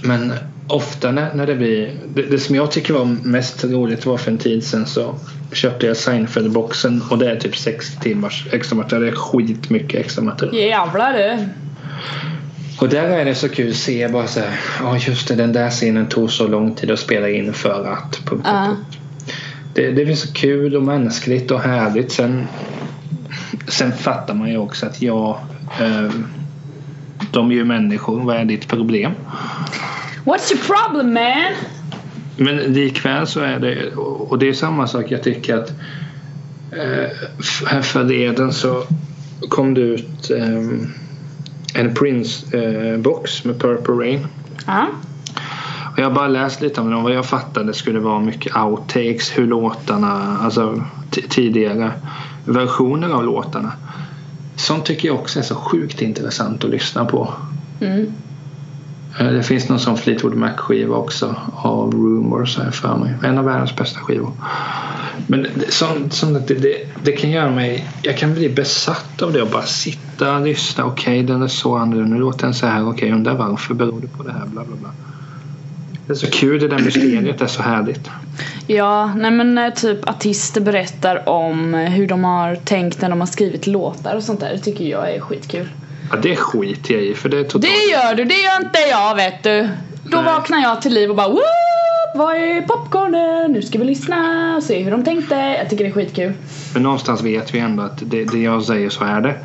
Speaker 1: Men ofta när, när det blir... Det, det som jag tycker var mest roligt var för en tid sedan så köpte jag Seinfeld-boxen och det är typ sex timmars extra material. Det är skitmycket extra material.
Speaker 2: Jävlar du!
Speaker 1: Och där är det så kul att se bara så här, ja just det, den där scenen tog så lång tid att spela in för att... punkt, punkt,
Speaker 2: Ja.
Speaker 1: punkt." Det, det blir så kul och mänskligt och härligt. Sen, sen fattar man ju också att jag... Eh, de är ju människor. Vad är ditt problem?
Speaker 2: What's your problem man?
Speaker 1: Men likväl så är det... Och det är samma sak jag tycker att... Eh, f- här förleden så kom det ut ehm, en Prince-box med Purple Rain.
Speaker 2: Ja.
Speaker 1: Och jag har bara läst lite om dem. Vad jag fattade skulle vara mycket outtakes, hur låtarna, alltså t- tidigare versioner av låtarna. Sånt tycker jag också är så sjukt intressant att lyssna på.
Speaker 2: Mm.
Speaker 1: Eh, Det finns någon sån Fleetwood Mac-skiva också av Rumours här för mig. En av världens bästa skivor. Men det- sånt, sånt att det, det, det kan göra mig... Jag kan bli besatt av det och bara sitta och lyssna. Okej, den är så annorlunda. Nu låter den så här. Okej, undrar varför. Beror det på det här? Bla, bla, bla. Det är så kul. Det där mysteriet är så härligt.
Speaker 2: Ja, nej men eh, typ artister berättar om eh, hur de har tänkt när de har skrivit låtar och sånt där. Det tycker jag är skitkul.
Speaker 1: Ja, det skiter jag i för det är totalt...
Speaker 2: Det gör du, det gör inte jag vet du. Då
Speaker 1: Nej.
Speaker 2: vaknar jag till liv och bara Woop! Vad är popcornen? Nu ska vi lyssna och se hur de tänkte. Jag tycker det är skitkul.
Speaker 1: Men någonstans vet vi ändå att det, det jag säger så är det.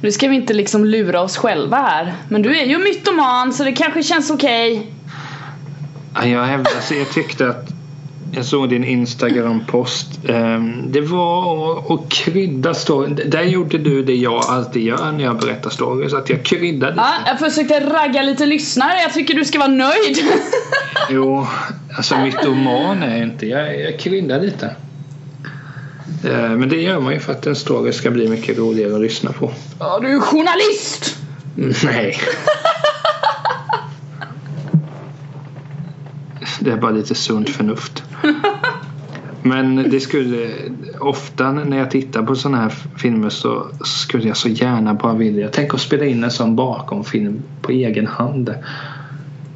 Speaker 2: Nu ska vi inte liksom lura oss själva här. Men du är ju mytoman så det kanske känns okej.
Speaker 1: Ja, Jag, hävdar, alltså jag tyckte att jag såg din Instagram-post. Ehm, Det var att- att krydda storyn. D- Där gjorde du det jag alltid gör när jag berättar stories. Att jag kryddade.
Speaker 2: Ja, jag försökte ragga lite lyssnare. Jag tycker du ska vara nöjd.
Speaker 1: Jo, alltså mytoman är jag inte. Jag, jag kryddar lite. Ehm, Men det gör man ju för att en story ska bli mycket roligare att lyssna på.
Speaker 2: Ja, du är journalist!
Speaker 1: <laughs> Nej. Det är bara lite sunt förnuft. Men det skulle... ofta när jag tittar på sådana här filmer så skulle jag så gärna bara vilja, tänk att spela in en sån bakomfilm på egen hand.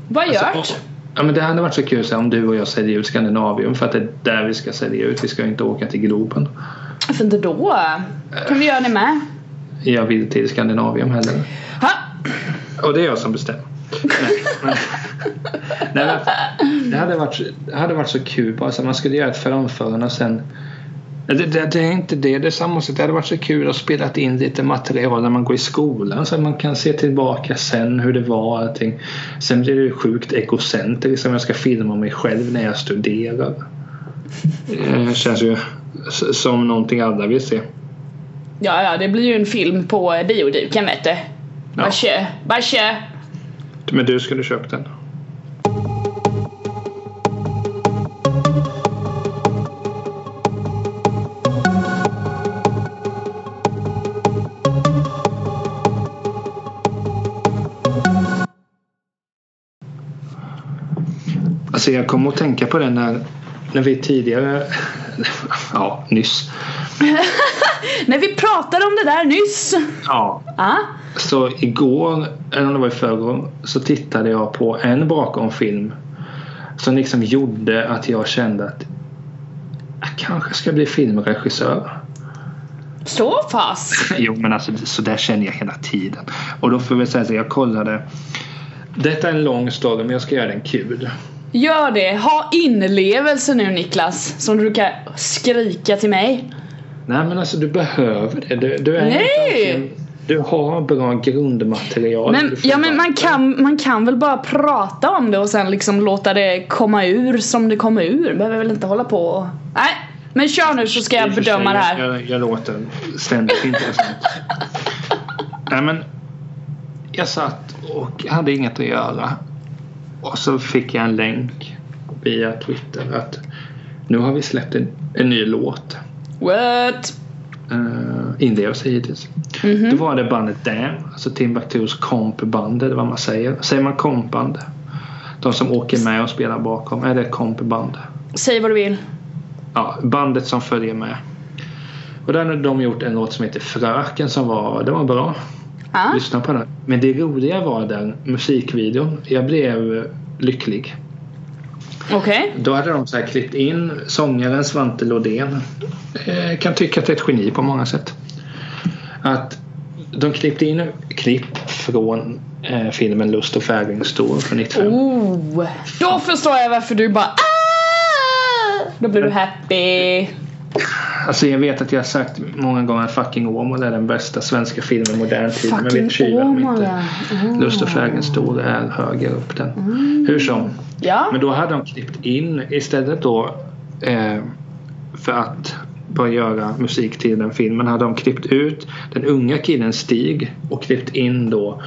Speaker 2: Vad gör
Speaker 1: Alltså, Ja, men det hade varit så kul så här, om du och jag säljer ut Skandinavium för att det är där vi ska sälja ut. Vi ska ju inte åka till Globen.
Speaker 2: Varför inte då? Kan vi göra det med?
Speaker 1: Jag vill till Skandinavium heller.
Speaker 2: Ha!
Speaker 1: Och det är jag som bestämmer. Nej, men- Nej, men det, hade varit, det hade varit så kul. Bara, så här, man skulle göra ett framförande och sen... Det, det, det är inte det. Det, är samma sak. det hade varit så kul att spela in lite material när man går i skolan så att man kan se tillbaka sen hur det var. och Allting. Sen blir det ju sjukt egocentriskt om jag ska filma mig själv när jag studerar. Det känns ju s- som någonting alla vill se.
Speaker 2: Ja, ja, det blir ju en film på eh, bioduken vet du. Bara kör, bara kör.
Speaker 1: Men du skulle köpt den. Alltså jag kom att tänka på den när, när vi tidigare, <laughs> ja nyss,
Speaker 2: När vi pratade om det där nyss.
Speaker 1: ja
Speaker 2: Ah,
Speaker 1: så igår, eller om det var i förrgår, så tittade jag på en bakomfilm som liksom gjorde att jag kände att jag kanske ska bli filmregissör.
Speaker 2: så pass.
Speaker 1: Jo, men alltså så där känner jag hela tiden. Och då får vi säga så här, jag kollade. Detta är en lång story, men jag ska göra den kul.
Speaker 2: Gör det. Ha inlevelse nu Niklas. Som du brukar skrika till mig.
Speaker 1: Nej, men alltså du behöver det. Du, du är
Speaker 2: Nej!
Speaker 1: verkligen- Du har bra grundmaterial.
Speaker 2: Men,
Speaker 1: Du får
Speaker 2: ja, men
Speaker 1: bara-
Speaker 2: man, kan, man kan väl bara prata om det och sen liksom låta det komma ur som det kommer ur. Behöver väl inte hålla på och... Nej, men kör nu så ska
Speaker 1: I
Speaker 2: jag
Speaker 1: och för
Speaker 2: bedöma
Speaker 1: sig,
Speaker 2: det här.
Speaker 1: Jag, jag, jag låter ständigt intressant. Nej men. Jag satt och hade inget att göra. Och så fick jag en länk via Twitter att nu har vi släppt en, en ny låt.
Speaker 2: What?
Speaker 1: Uh, Inlevelse hittills.
Speaker 2: Mhm.
Speaker 1: Då var det bandet Damn, alltså Timbuktus kompband eller vad man säger. Säger man kompband? De som åker med och spelar bakom, är det kompband?
Speaker 2: Säg vad du vill.
Speaker 1: ja, bandet som följer med. Och där hade de gjort en låt som heter Fröken som var, den var bra.
Speaker 2: Ah?
Speaker 1: Lyssna på den. Men det roliga var den musikvideon. Jag blev eh, lycklig.
Speaker 2: Okej.
Speaker 1: Då hade de så här klippt in sångaren Svante Lodén. Eh, kan tycka att det är ett geni på många sätt. Att de klippte in klipp från eh, filmen Lust och färing stor från 95.
Speaker 2: Oh. Då förstår jag varför du bara ah! Då blir du happy.
Speaker 1: Alltså jag vet att jag har sagt många gånger att fucking Åmål är den bästa svenska filmen i modern tid. men vet
Speaker 2: Fucking
Speaker 1: tjuven om
Speaker 2: Åmål
Speaker 1: inte
Speaker 2: ja. Mm.
Speaker 1: Lust och fägen stor är höger upp den. Hur som.
Speaker 2: Ja.
Speaker 1: Men då hade de klippt in istället då eh, för att bara göra musik till den filmen hade de klippt ut den unga killen Stig och klippt in då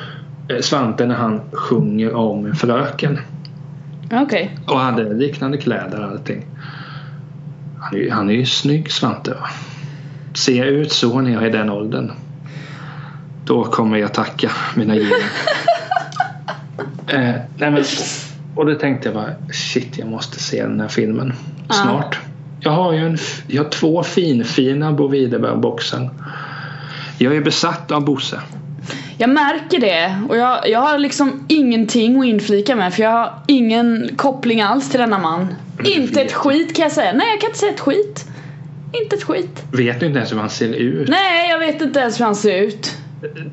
Speaker 1: eh, Svante när han sjunger om fröken.
Speaker 2: Okej.
Speaker 1: Och hade liknande kläder och allting. Han är, ju- han är ju snygg Svante. va? Ser jag ut så när jag är i den åldern. Då kommer jag tacka mina gener. eh, nej men, och då tänkte jag bara shit jag måste se den här filmen
Speaker 2: Ja.
Speaker 1: snart. Jag har ju en, f- jag har två finfina Bo Widerberg-boxen. Jag är besatt av Bosse.
Speaker 2: Jag märker det och jag, jag har liksom ingenting att inflika med för jag har ingen koppling alls till denna man. Inte ett skit kan jag säga. Nej jag kan inte säga ett skit. Inte ett skit.
Speaker 1: Vet inte ens hur han ser ut.
Speaker 2: Nej jag vet inte ens hur han ser ut.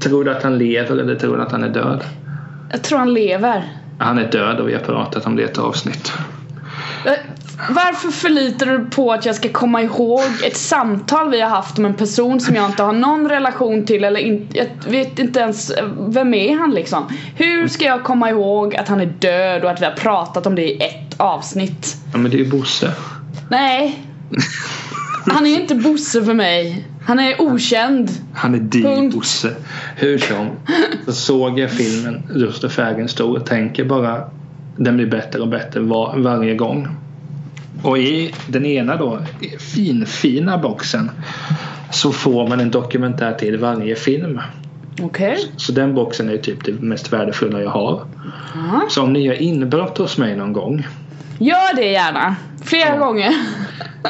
Speaker 1: Tror du att han lever eller tror du att han är död?
Speaker 2: Jag tror han lever.
Speaker 1: Han är död och vi har pratat om det i ett avsnitt.
Speaker 2: Eh, Varför förlitar du på att jag ska komma ihåg ett samtal vi har haft om en person som jag inte har någon relation till eller in, jag vet inte ens eh, vem är han liksom? Hur ska jag komma ihåg att han är död och att vi har pratat om det i ett avsnitt?
Speaker 1: Ja men det är ju Bosse.
Speaker 2: Nej. Han är inte Bosse för mig. Han är okänd.
Speaker 1: Han är din
Speaker 2: Punkt.
Speaker 1: Bosse. Hur som. Så såg jag filmen Lust och fägen stor och tänker bara den blir bättre och bättre var, varje gång. Och i den ena då i finfina boxen så får man en dokumentär till varje film.
Speaker 2: Okej.
Speaker 1: Så den boxen är ju typ det mest värdefulla jag har.
Speaker 2: Ja.
Speaker 1: Så om ni gör inbrott hos mig någon gång
Speaker 2: Gör det gärna. Flera gånger.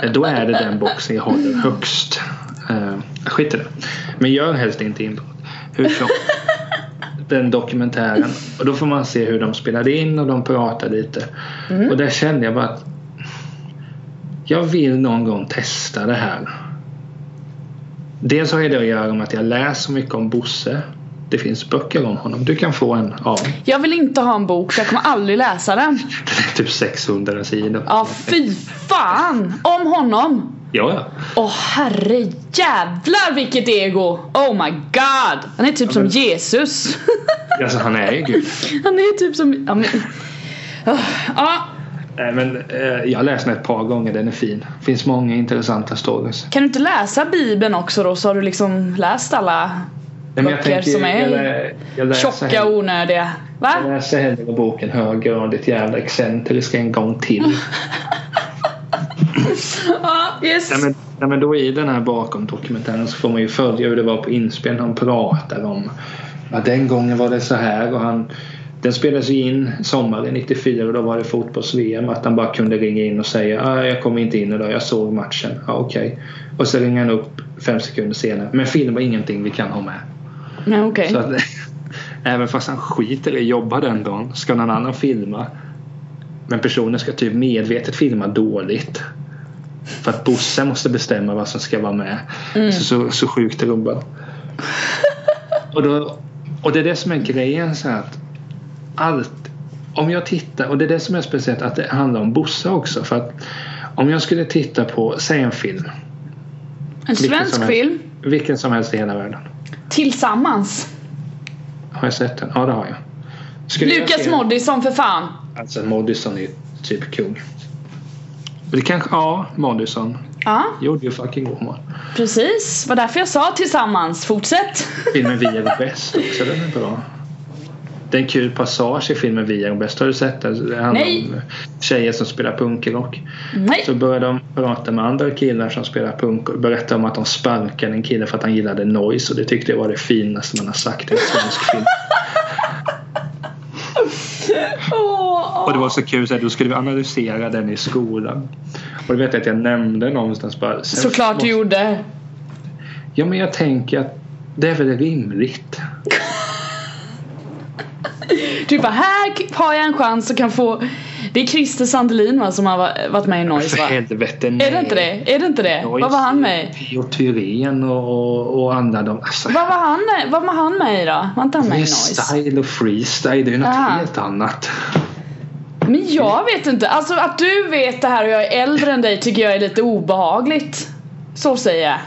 Speaker 1: Eh, Då är det den boxen jag håller högst. Eh, skit i det. Men gör helst inte inbrott. Hur som. Den dokumentären. Och då får man se hur de spelade in och de pratar lite. Och där kände jag bara att jag vill någon gång testa det här. Dels har det att göra med att jag läser så mycket om Bosse. Det finns böcker om honom. Du kan få en av <laughs>
Speaker 2: Jag vill inte ha en bok, jag kommer aldrig läsa den.
Speaker 1: typ 600 sidor.
Speaker 2: Ja, fy fan! Om honom!
Speaker 1: Ja, ja.
Speaker 2: Åh oh, herre jävlar vilket ego! Oh my god! Han är typ som Jesus. <laughs>
Speaker 1: Alltså han är ju gud.
Speaker 2: Han är typ som... Ja, men... Åh, ja.
Speaker 1: Nej, men eh, jag har läst den ett par gånger. Den är fin. Finns många intressanta stories.
Speaker 2: Kan du inte läsa bibeln också då så har du liksom läst alla
Speaker 1: Nej, men jag
Speaker 2: Böcker som är
Speaker 1: jag, lä- jag läser
Speaker 2: tjocka
Speaker 1: hellre-
Speaker 2: onödiga?
Speaker 1: Jag
Speaker 2: Va?
Speaker 1: läser hellre boken Höger och ditt jävla excentriska en gång till.
Speaker 2: Ja, yes.
Speaker 1: nej, men, nej, men då i den här bakom dokumentären så får man ju följa hur det var på inspelningen. Han pratar om att den gången var det så här och han den spelades ju in sommaren 94 och då var det fotbolls-VM att han bara kunde ringa in och säga ah, jag kom inte in idag, jag såg matchen. Ja, okej. Och så ringer han upp fem sekunder senare. Men film var ingenting vi kan ha med.
Speaker 2: Nej, okej.
Speaker 1: Så att, <laughs> även fast han skiter i att jobba den dagen ska någon annan filma. Men personen ska typ medvetet filma dåligt. För att Bosse måste bestämma vad som ska vara med. Så, så, så sjukt är rumban. och, då, och det är det som är grejen. Så här att allt, om jag tittar, och det är det som är speciellt att det handlar om Bosse också. För att om jag skulle titta på, säg en film.
Speaker 2: En
Speaker 1: som
Speaker 2: svensk
Speaker 1: helst.
Speaker 2: film.
Speaker 1: Vilken som helst i hela världen.
Speaker 2: Tillsammans.
Speaker 1: Har jag sett den? Ja det har jag. Skulle jag
Speaker 2: Lukas
Speaker 1: se-
Speaker 2: Moodysson för fan.
Speaker 1: Alltså Moodysson är ju typ kung. Men Det kanske, ja, Moodysson
Speaker 2: Ja,
Speaker 1: gjorde ju fucking god mat.
Speaker 2: precis. Var därför jag sa tillsammans. Fortsätt.
Speaker 1: Filmen Vi är bäst också, den är bra. Det är en kul passage i filmen Vi är bäst. Har du sett den? Det handlar
Speaker 2: Nej.
Speaker 1: om tjejer som spelar punkrock.
Speaker 2: Nej.
Speaker 1: Så börjar de prata med andra killar som spelar punk och berätta om att de sparkade en kille för att han gillade noise och det tyckte jag var det finaste man har sagt i en svensk film.
Speaker 2: Åh,
Speaker 1: Och det var så kul så att då skulle vi analysera den i skolan. Och du vet jag att jag nämnde någonstans bara. sen
Speaker 2: Såklart du gjorde.
Speaker 1: Ja, men jag tänker att det är väl rimligt.
Speaker 2: Du bara, här har jag en chans och kan få... Det är Christer Sandelin va, som har va- varit med i Noise
Speaker 1: För
Speaker 2: va?
Speaker 1: helvete, nej.
Speaker 2: Är det inte det? Är det inte det?
Speaker 1: Noise,
Speaker 2: Vad var han med i?
Speaker 1: Pio Thyrén och, och, och andra. De, alltså,
Speaker 2: Vad var han, vad var han med i då? Var inte han med i
Speaker 1: det är
Speaker 2: Noise?
Speaker 1: style och freestyle, det är ju något
Speaker 2: Aha.
Speaker 1: helt annat.
Speaker 2: Men jag vet inte. Alltså att du vet det här och jag är äldre än dig tycker jag är lite obehagligt. Så säger jag.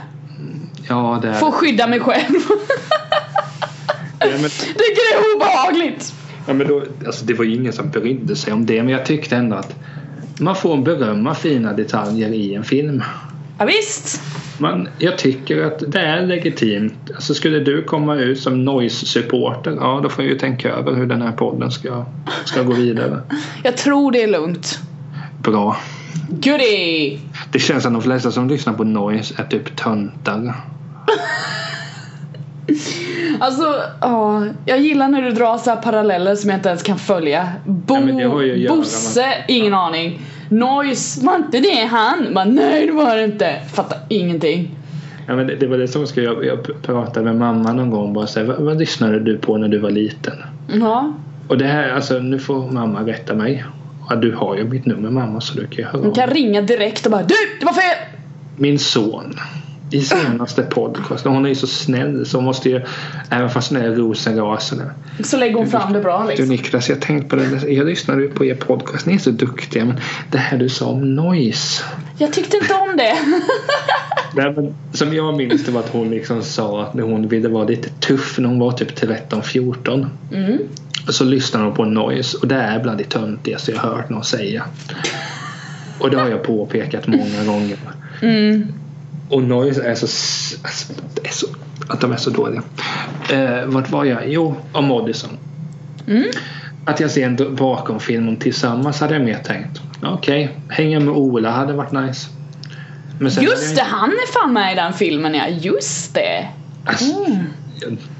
Speaker 1: Ja, det är
Speaker 2: Får skydda mig själv. <laughs>
Speaker 1: ja, men,
Speaker 2: tycker det är obehagligt.
Speaker 1: ja, men då, alltså, Det var ju ingen som brydde sig om det, men jag tyckte ändå att man får berömma fina detaljer i en film.
Speaker 2: Ja, visst.
Speaker 1: Men jag tycker att det är legitimt. Alltså skulle du komma ut som noise-supporter, ja då får jag ju tänka över hur den här podden ska, ska gå vidare.
Speaker 2: Jag tror det är lugnt.
Speaker 1: Bra.
Speaker 2: Goodie!
Speaker 1: Det känns som de flesta som lyssnar på noise är typ töntar.
Speaker 2: Alltså, ja, jag gillar när du drar så här paralleller som jag inte ens kan följa. Bo,
Speaker 1: Ja, men det har ju att göra med-
Speaker 2: Bosse, ingen aning. Noise, var inte det han? Bara, nej det var det inte. Fattar ingenting.
Speaker 1: Ja, men det, det var det som skulle jag, jag pratade med mamma någon gång bara säga vad, vad lyssnade du på när du var liten?
Speaker 2: Ja,
Speaker 1: Och det här, alltså nu får mamma rätta mig. Ja, du har ju mitt nummer mamma så du kan ju höra
Speaker 2: du
Speaker 1: av
Speaker 2: kan
Speaker 1: dig.
Speaker 2: ringa direkt och bara du, det var fel!
Speaker 1: Min son. I senaste podcasten. Hon är ju så snäll så hon måste ju, även fast hon är rosenrasande.
Speaker 2: Så lägger hon fram det bra
Speaker 1: Du
Speaker 2: liksom.
Speaker 1: Niklas, jag tänkte på det. Jag lyssnade ju på er podcast. Ni är så duktiga. Men det här du sa om noise.
Speaker 2: Jag tyckte inte om det.
Speaker 1: Nej, men, som jag minns det var att hon liksom sa att när hon ville vara lite tuff när hon var typ 13-14.
Speaker 2: Mm.
Speaker 1: Och så lyssnade hon på noise och det är bland det töntigaste jag hört någon säga. Och det har jag påpekat många gånger.
Speaker 2: Mm.
Speaker 1: Och noise är så, s- alltså, det är så att de är så dåliga. Eh, vart var jag? Jo, om Moodysson.
Speaker 2: Mm.
Speaker 1: Att jag ser en do- bakomfilm om Tillsammans hade jag mer tänkt. Okej, hänga med Ola hade varit nice. Men sen hade jag
Speaker 2: <laughs> Just
Speaker 1: inte-
Speaker 2: det, han är fan med i den filmen ja. Just det.
Speaker 1: Alltså,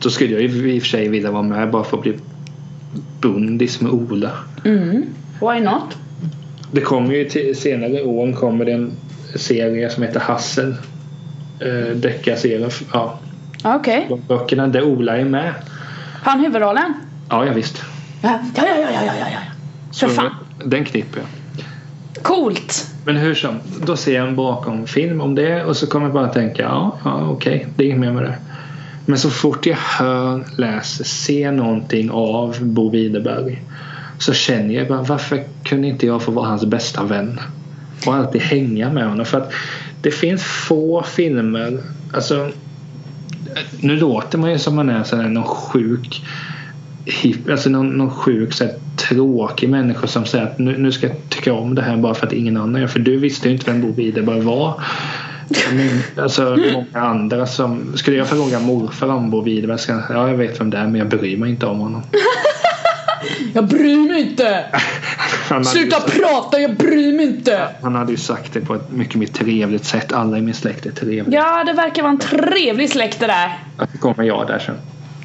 Speaker 1: Då skulle jag ju i och för sig vilja vara med bara för att bli bundis med Ola.
Speaker 2: Mm. Why not?
Speaker 1: Det kommer ju till, senare i år kommer det en serie som heter Hassel. Eh, Deckarserien, ja,
Speaker 2: Ja, Okej.
Speaker 1: de böckerna där Ola är med.
Speaker 2: Har han huvudrollen?
Speaker 1: Ja, ja visst.
Speaker 2: Ja, ja, ja, ja, ja, ja, ja. För
Speaker 1: Mm.
Speaker 2: fan.
Speaker 1: Den knipper jag.
Speaker 2: Coolt!
Speaker 1: Men hur som, då ser jag en bakomfilm om det och så kommer jag bara att tänka ja, ja okej, det är inget mer med det. Men så fort jag hör, läser, ser någonting av Bo Widerberg så känner jag bara varför kunde inte jag få vara hans bästa vän? Och alltid hänga med honom. För att det finns få filmer, alltså nu låter man ju som man är sån här någon sjuk hipp, alltså någon, någon sjuk så här, tråkig människa som säger att nu, nu ska jag tycka om det här bara för att ingen annan gör För du visste ju inte vem Bo Widerberg var. Men, alltså många andra som, skulle jag fråga morfar om Bo Widerberg så kanske, ja jag vet vem det är men jag bryr mig inte om honom.
Speaker 2: Jag bryr mig inte!
Speaker 1: <laughs> Han hade ju
Speaker 2: Sluta
Speaker 1: sagt-
Speaker 2: prata, jag bryr mig inte!
Speaker 1: Han hade ju sagt det på ett mycket mer trevligt sätt. Alla i min släkt är trevliga.
Speaker 2: Ja, det verkar vara en trevlig släkt det där.
Speaker 1: Så kommer jag där sen.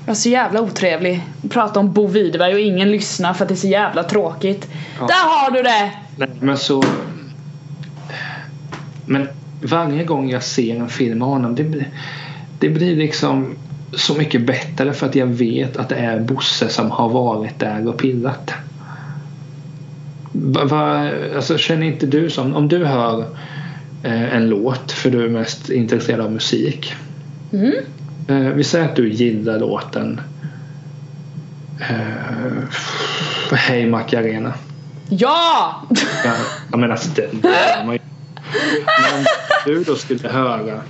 Speaker 2: Jag är så jävla otrevlig. Prata om Bo Widerberg och ingen lyssnar för att det är så jävla tråkigt.
Speaker 1: Ja.
Speaker 2: Där har du det!
Speaker 1: Nej, men så... Men varje gång jag ser en film med honom det blir, det blir liksom så mycket bättre för att jag vet att det är Bosse som har varit där och pillat. Va, va, alltså, känner inte du som... Om du hör eh, en låt, för du är mest intresserad av musik.
Speaker 2: Mm.
Speaker 1: Eh, vi säger att du gillar låten eh, Hej Macarena.
Speaker 2: Ja!
Speaker 1: Ja, jag menar alltså den den man ju. Men om du då skulle höra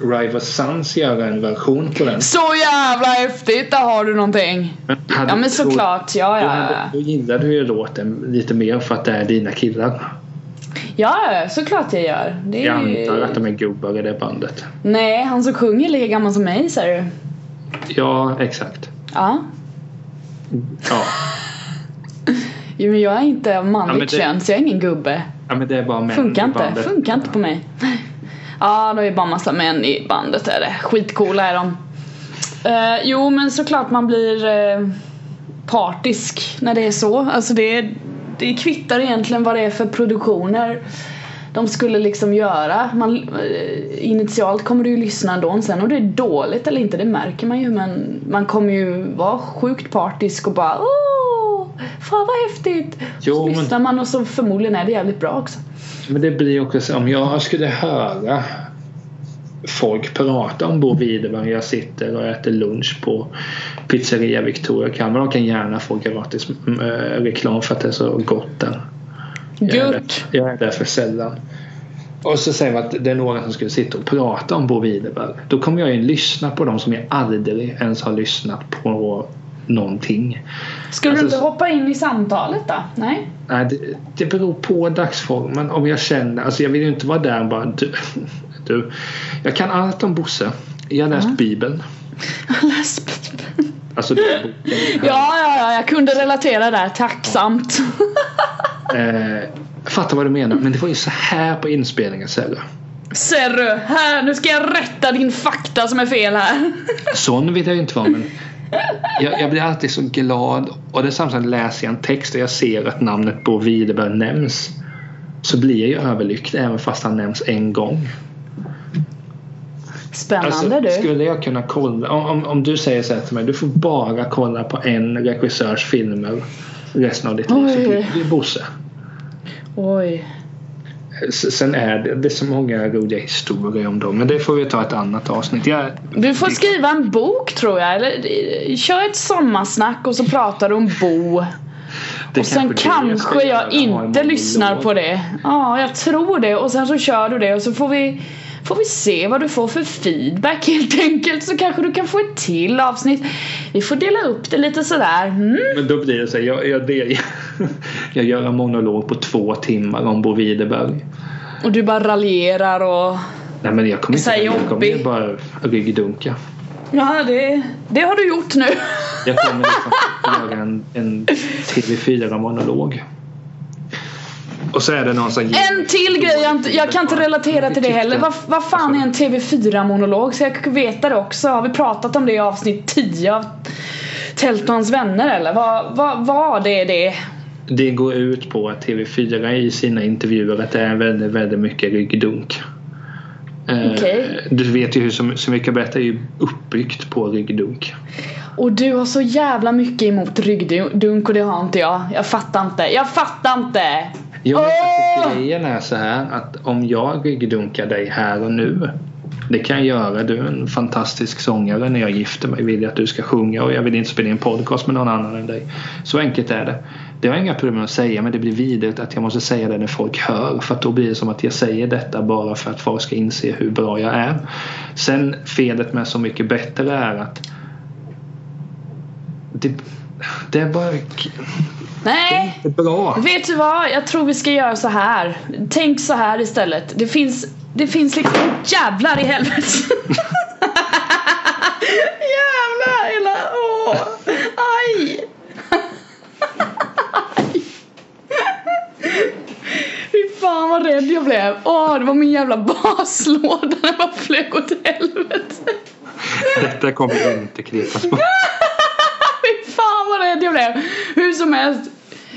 Speaker 1: Rival Sons göra en version på den.
Speaker 2: Så jävla häftigt, där har du någonting.
Speaker 1: Men hade
Speaker 2: Ja men
Speaker 1: du-
Speaker 2: såklart, ja
Speaker 1: Då,
Speaker 2: ja.
Speaker 1: hade-
Speaker 2: ja.
Speaker 1: då gillar du ju låten lite mer för att det är dina killar.
Speaker 2: Ja, ja, såklart jag gör. Det
Speaker 1: Jag
Speaker 2: är
Speaker 1: antar att
Speaker 2: ju...
Speaker 1: de är gubbar i det bandet.
Speaker 2: Nej, han som sjunger är lika gammal som mig säger du.
Speaker 1: Ja, exakt.
Speaker 2: Ja.
Speaker 1: Ja.
Speaker 2: Jo men jag är inte av
Speaker 1: Ja, men
Speaker 2: manligt
Speaker 1: det-
Speaker 2: kön så jag är ingen gubbe.
Speaker 1: ja men det är bara män
Speaker 2: Funkar
Speaker 1: i
Speaker 2: inte,
Speaker 1: bandet.
Speaker 2: funkar inte på mig. Ja, då är bara massa män i bandet är det. Skitcoola är de. Eh, jo, men såklart man blir eh, partisk när det är så. Alltså det, det kvittar egentligen vad det är för produktioner de skulle liksom göra. Man, eh, initialt kommer du ju lyssna ändå, sen om det är dåligt eller inte det märker man ju men man kommer ju vara sjukt partisk och bara åh, fan vad häftigt!
Speaker 1: Jo,
Speaker 2: så
Speaker 1: men-
Speaker 2: lyssnar man och så förmodligen är det jävligt bra också.
Speaker 1: Men det blir också så om jag skulle höra folk prata om Bo Widerberg jag sitter och äter lunch på pizzeria Victoria Kalmar. De kan gärna få gratis mm, eh, reklam för att det är så gott där. Jag är där-
Speaker 2: Gött!
Speaker 1: Jag är där för sällan. Och så säger man att det är några som skulle sitta och prata om Bo Widerberg. Då kommer jag ju lyssna på dem som jag aldrig ens har lyssnat på någonting.
Speaker 2: Skulle
Speaker 1: Alltså,
Speaker 2: du inte
Speaker 1: så-
Speaker 2: hoppa in i samtalet då? Nej?
Speaker 1: Nej, det, det beror på dagsformen. Om jag känner, alltså jag vill ju inte vara där och bara du, <laughs> du. Jag kan allt om Bosse. Jag har läst Bibeln. Alltså den boken.
Speaker 2: ja, ja, ja, jag kunde relatera där. Tacksamt.
Speaker 1: Eh, jag fattar vad du menar. Men det var ju så här på inspelningen Sella.
Speaker 2: Serru, här, nu ska jag rätta din fakta som är fel här.
Speaker 1: Sån vill jag ju inte vara. Men jag, jag blir alltid så glad. Och det är samtidigt läser jag en text och jag ser att namnet Bo Widerberg nämns. Så blir jag ju överlycklig även fast han nämns en gång.
Speaker 2: Spännande du.
Speaker 1: Alltså, Skulle jag kunna kolla, om, om, om du säger så här till mig, du får bara kolla på en regissörs filmer resten av ditt liv. Så
Speaker 2: Oj.
Speaker 1: blir det Bosse.
Speaker 2: Oj.
Speaker 1: S- Sen är det, det är så många roliga historier om dem, men det får vi ta ett annat avsnitt. Jag,
Speaker 2: Du får skriva en bok tror jag. Eller eh, kör ett sommarsnack och så pratar du om Bo.
Speaker 1: det
Speaker 2: Och sen
Speaker 1: det jag ska
Speaker 2: kanske jag,
Speaker 1: göra, ha en
Speaker 2: inte
Speaker 1: monolog.
Speaker 2: lyssnar på det. Ja, jag tror det. Och sen så kör du det och så får vi, får vi se vad du får för feedback helt enkelt. Så kanske du kan få ett till avsnitt. Vi får dela upp det lite sådär. Mm.
Speaker 1: Men då blir det så här, jag, jag, det, <laughs> jag gör en monolog på två timmar om Bo Widerberg.
Speaker 2: Och du bara raljerar och...
Speaker 1: Nej men jag kommer
Speaker 2: Så
Speaker 1: inte,
Speaker 2: här
Speaker 1: jag kommer ju
Speaker 2: jobbig.
Speaker 1: bara ryggdunka.
Speaker 2: Ja, det, det har du gjort nu. <laughs>
Speaker 1: Jag kommer liksom göra en, en TV4-monolog. Och så är det någon som ger-
Speaker 2: En till grej, jag, inte, jag kan inte relatera till det heller. Vad, vad fan är en TV4-monolog? Så jag kan veta det också. Har vi pratat om det i avsnitt 10 av Tält och hans vänner eller? Vad, vad, vad det är det?
Speaker 1: det går ut på att TV4 i sina intervjuer att det är väldigt, väldigt mycket ryggdunk. Eh,
Speaker 2: Okej.
Speaker 1: Du vet ju hur Så, så mycket bättre är ju uppbyggt på ryggdunk.
Speaker 2: Och du har så jävla mycket emot ryggdunk och det har inte jag. Jag fattar inte. Jag fattar inte!
Speaker 1: Jag vet
Speaker 2: Åh!
Speaker 1: att grejen är så här att om jag ryggdunkar dig här och nu det kan jag göra. Du är en fantastisk sångare. När jag gifter mig vill jag att du ska sjunga och jag vill inte spela in podcast med någon annan än dig. Så enkelt är det. Det har jag inga problem med att säga men det blir vidrigt att jag måste säga det när folk hör för att då blir det som att jag säger detta bara för att folk ska inse hur bra jag är. Sen felet med Så mycket bättre är att det, det är bara
Speaker 2: Nej!
Speaker 1: det är bra.
Speaker 2: Vet du vad? Jag tror vi ska göra så här. Tänk så här istället. Det finns, det finns liksom... Jävlar i helvete! <laughs> jävlar! Hela... Åh! Aj! <laughs> Aj. Fy fan vad rädd jag blev. Åh, det var min jävla baslåda. Den bara flög åt helvete.
Speaker 1: Detta kommer inte klippas bort.
Speaker 2: <laughs> Fy fan vad rädd jag blev! Hur som helst,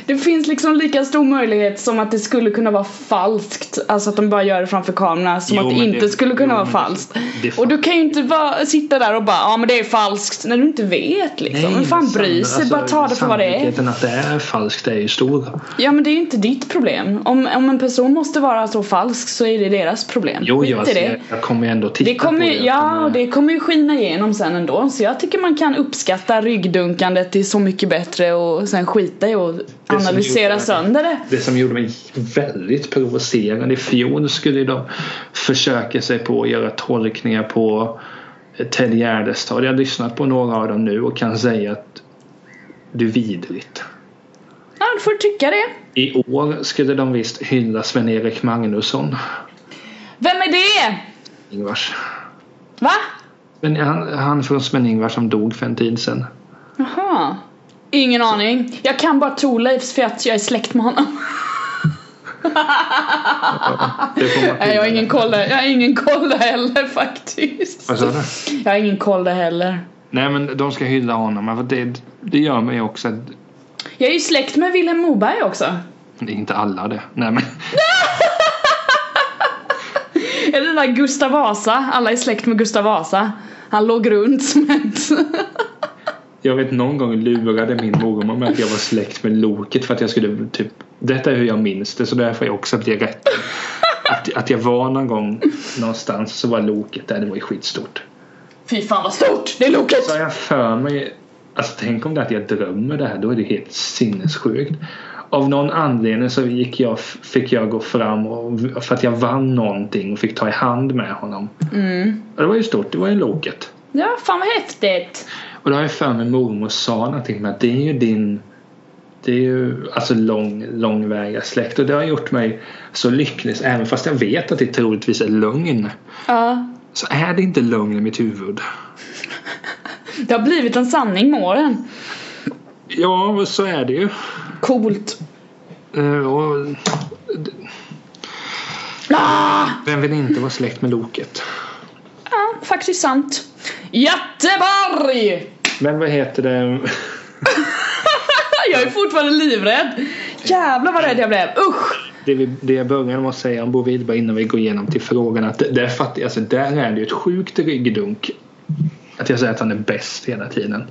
Speaker 2: det finns liksom lika stor möjlighet som att det skulle kunna vara falskt. Alltså att de bara gör det framför kameran som
Speaker 1: Jo,
Speaker 2: att det
Speaker 1: men
Speaker 2: inte
Speaker 1: det-
Speaker 2: skulle kunna
Speaker 1: jo,
Speaker 2: vara
Speaker 1: men
Speaker 2: falskt.
Speaker 1: det är
Speaker 2: och du kan ju inte bara sitta där och bara ja men det är falskt när du inte vet liksom. Vem fan bryr sig? bara ta det för vad det är.
Speaker 1: Alltså, Sannolikheten att det är falskt är ju stor.
Speaker 2: Ja men det är ju inte ditt problem. Om, om en person måste vara så falsk så är det deras problem.
Speaker 1: Jo,
Speaker 2: Skit i
Speaker 1: jag,
Speaker 2: det.
Speaker 1: ser, jag kommer ändå titta
Speaker 2: Det kommer,
Speaker 1: på
Speaker 2: ju-
Speaker 1: det. eh,
Speaker 2: ja, och det kommer ju skina igenom sen ändå. Så jag tycker man kan uppskatta ryggdunkandet till Så mycket bättre och sen skita i och
Speaker 1: som gjorde
Speaker 2: analysera
Speaker 1: det.
Speaker 2: sönder det.
Speaker 1: Det som gjorde mig väldigt provocerande i fjol skulle ju de försöka sig på att göra tolkningar på eh, Ted Gärdestad. Jag har lyssnat på några av dem nu och kan säga att du är vidrigt.
Speaker 2: Ja, du får tycka det.
Speaker 1: I år skulle de visst hylla Sven-Erik Magnusson.
Speaker 2: Vem är det?
Speaker 1: Ingvars.
Speaker 2: Va?
Speaker 1: Men han, han från Sven-Ingvars som dog för en tid sedan.
Speaker 2: Jaha. Ingen aning. Jag kan bara Thorleifs för att jag är släkt med honom.
Speaker 1: <laughs> Det får man-
Speaker 2: <laughs> Nej, jag har ingen koll där. Jag har ingen koll där heller <laughs> faktiskt.
Speaker 1: Vad sa du?
Speaker 2: Jag har ingen koll där heller.
Speaker 1: Nej men de ska hylla honom. men För det, det gör mig också att...
Speaker 2: Jag är ju släkt med Vilhelm Moberg också.
Speaker 1: Det är inte alla det. Nej men.
Speaker 2: Eller den där Gustav Vasa, alla är släkt med Gustav Vasa. Han låg runt som ett... <laughs>
Speaker 1: Jag vet någon gång lurade min mormor med att jag var släkt med Loket för att jag skulle typ. Detta är hur jag minns det så därför är jag också att det är rätt. Att, att jag var någon gång någonstans så var Loket där. Det var ju skitstort.
Speaker 2: Fy fan vad stort! Det är Loket!
Speaker 1: Så har jag för mig. Alltså tänk om det är att jag drömmer det här. Då är det helt sinnessjukt. Av någon anledning så gick jag, fick jag gå fram och, för att jag vann någonting och fick ta i hand med honom.
Speaker 2: Mm.
Speaker 1: Ja, Det var ju stort, det var ju loket.
Speaker 2: Ja, fan vad häftigt!
Speaker 1: Och då har jag för mig mormor sa någonting med att det är ju din det är ju alltså lång, långväga släkt och det har gjort mig så lycklig även fast jag vet att det troligtvis är lögn
Speaker 2: Ja.
Speaker 1: så är det inte lögn i mitt huvud.
Speaker 2: Det har blivit en sanning med åren.
Speaker 1: Ja, men så är det ju.
Speaker 2: Coolt.
Speaker 1: Eh, Och
Speaker 2: Ah!
Speaker 1: vem vill inte vara släkt med loket?
Speaker 2: Ja, faktiskt sant. Göteborg!
Speaker 1: Men vad heter det?
Speaker 2: <laughs> Jag är fortfarande livrädd. Jävlar vad rädd jag blev. Usch!
Speaker 1: Det, vi, det jag började med att säga om Bo Widerberg innan vi går igenom till frågan att det- där, fattar, alltså, där är det ju ett sjukt ryggdunk. Att jag säger att han är bäst hela tiden.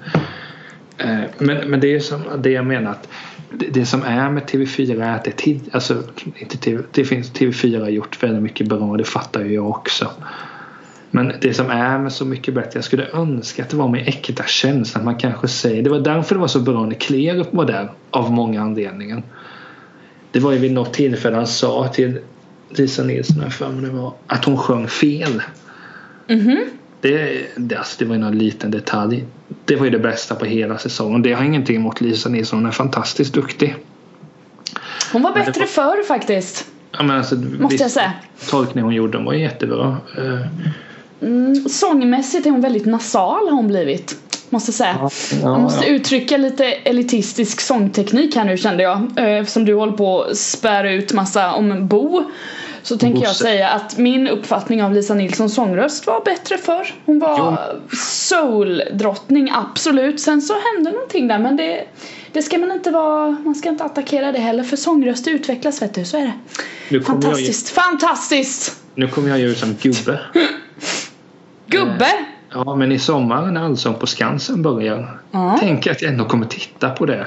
Speaker 1: Eh, Men, men det är som det jag menar att det, det som är med TV4 är att det, är tid, alltså, inte TV, det finns TV4 har gjort väldigt mycket bra det fattar ju jag också. Men det som är med Så mycket bättre, jag skulle önska att det var med äkta känsla. Att man kanske säger, det var därför det var så bra när Klerup var där av många anledningar. Det var ju vid något tillfälle han sa till Lisa Nilsson, har jag för mig det var, att hon sjöng fel.
Speaker 2: Mhm.
Speaker 1: Det, det, alltså, det var ju någon liten detalj. Det var ju det bästa på hela säsongen. Det har jag ingenting emot Lisa Nilsson, hon är fantastiskt duktig.
Speaker 2: Hon var
Speaker 1: det
Speaker 2: bättre
Speaker 1: var-
Speaker 2: förr faktiskt.
Speaker 1: Ja, men alltså,
Speaker 2: Måste jag säga.
Speaker 1: Tolkningen hon gjorde den var jättebra. Eh,
Speaker 2: Mm, sångmässigt är hon väldigt nasal har hon blivit. Måste säga.
Speaker 1: Ja, ja,
Speaker 2: Man måste
Speaker 1: ja.
Speaker 2: uttrycka lite elitistisk sångteknik här nu kände jag. eh, Eftersom du håller på att spär ut massa om Bo. Så tänker jag
Speaker 1: Bosse.
Speaker 2: säga att min uppfattning av Lisa Nilssons sångröst var bättre förr. Hon var soul-drottning, absolut. Sen så hände någonting där men det, det ska man inte vara, man ska inte attackera det heller för sångröst utvecklas vet du, så är det.
Speaker 1: Nu kommer, jag, ju-
Speaker 2: Fantastiskt, fantastiskt!
Speaker 1: nu kommer jag ju ut som gubbe.
Speaker 2: Gubbe!
Speaker 1: Eh. Ja, men i sommar när Allsång på Skansen börjar.
Speaker 2: Ja.
Speaker 1: Tänk att jag ändå kommer titta på det.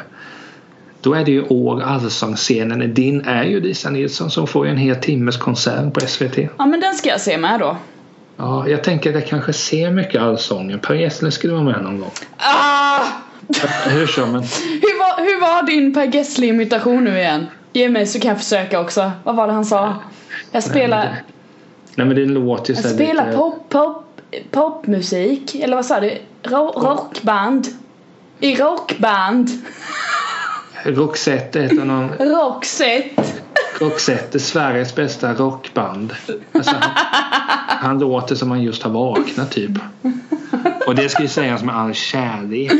Speaker 1: Då är det ju år Allsångsscenen. Din är ju Lisa Nilsson som får ju en hel timmes konsert på SVT.
Speaker 2: Ja men den ska jag se med då.
Speaker 1: Ja, jag tänker att jag kanske ser mycket Allsången. Per Gessle skulle vara med någon gång.
Speaker 2: Ah!
Speaker 1: Hur som, men
Speaker 2: Hur var, hur var din Per Gessle-imitation nu igen? Ge mig så kan jag försöka också. Vad var det han sa? Jag spelar,
Speaker 1: Nej men det låter ju
Speaker 2: jag
Speaker 1: så här
Speaker 2: spelar
Speaker 1: lite-
Speaker 2: pop, pop, popmusik. Eller vad sa du? Ro, rockband. I rockband.
Speaker 1: Roxette är ett av någon...
Speaker 2: Rockset.
Speaker 1: Roxette är Sveriges bästa rockband. Alltså, han, han låter som han just har vaknat typ. Och det ska ju sägas med all kärlek.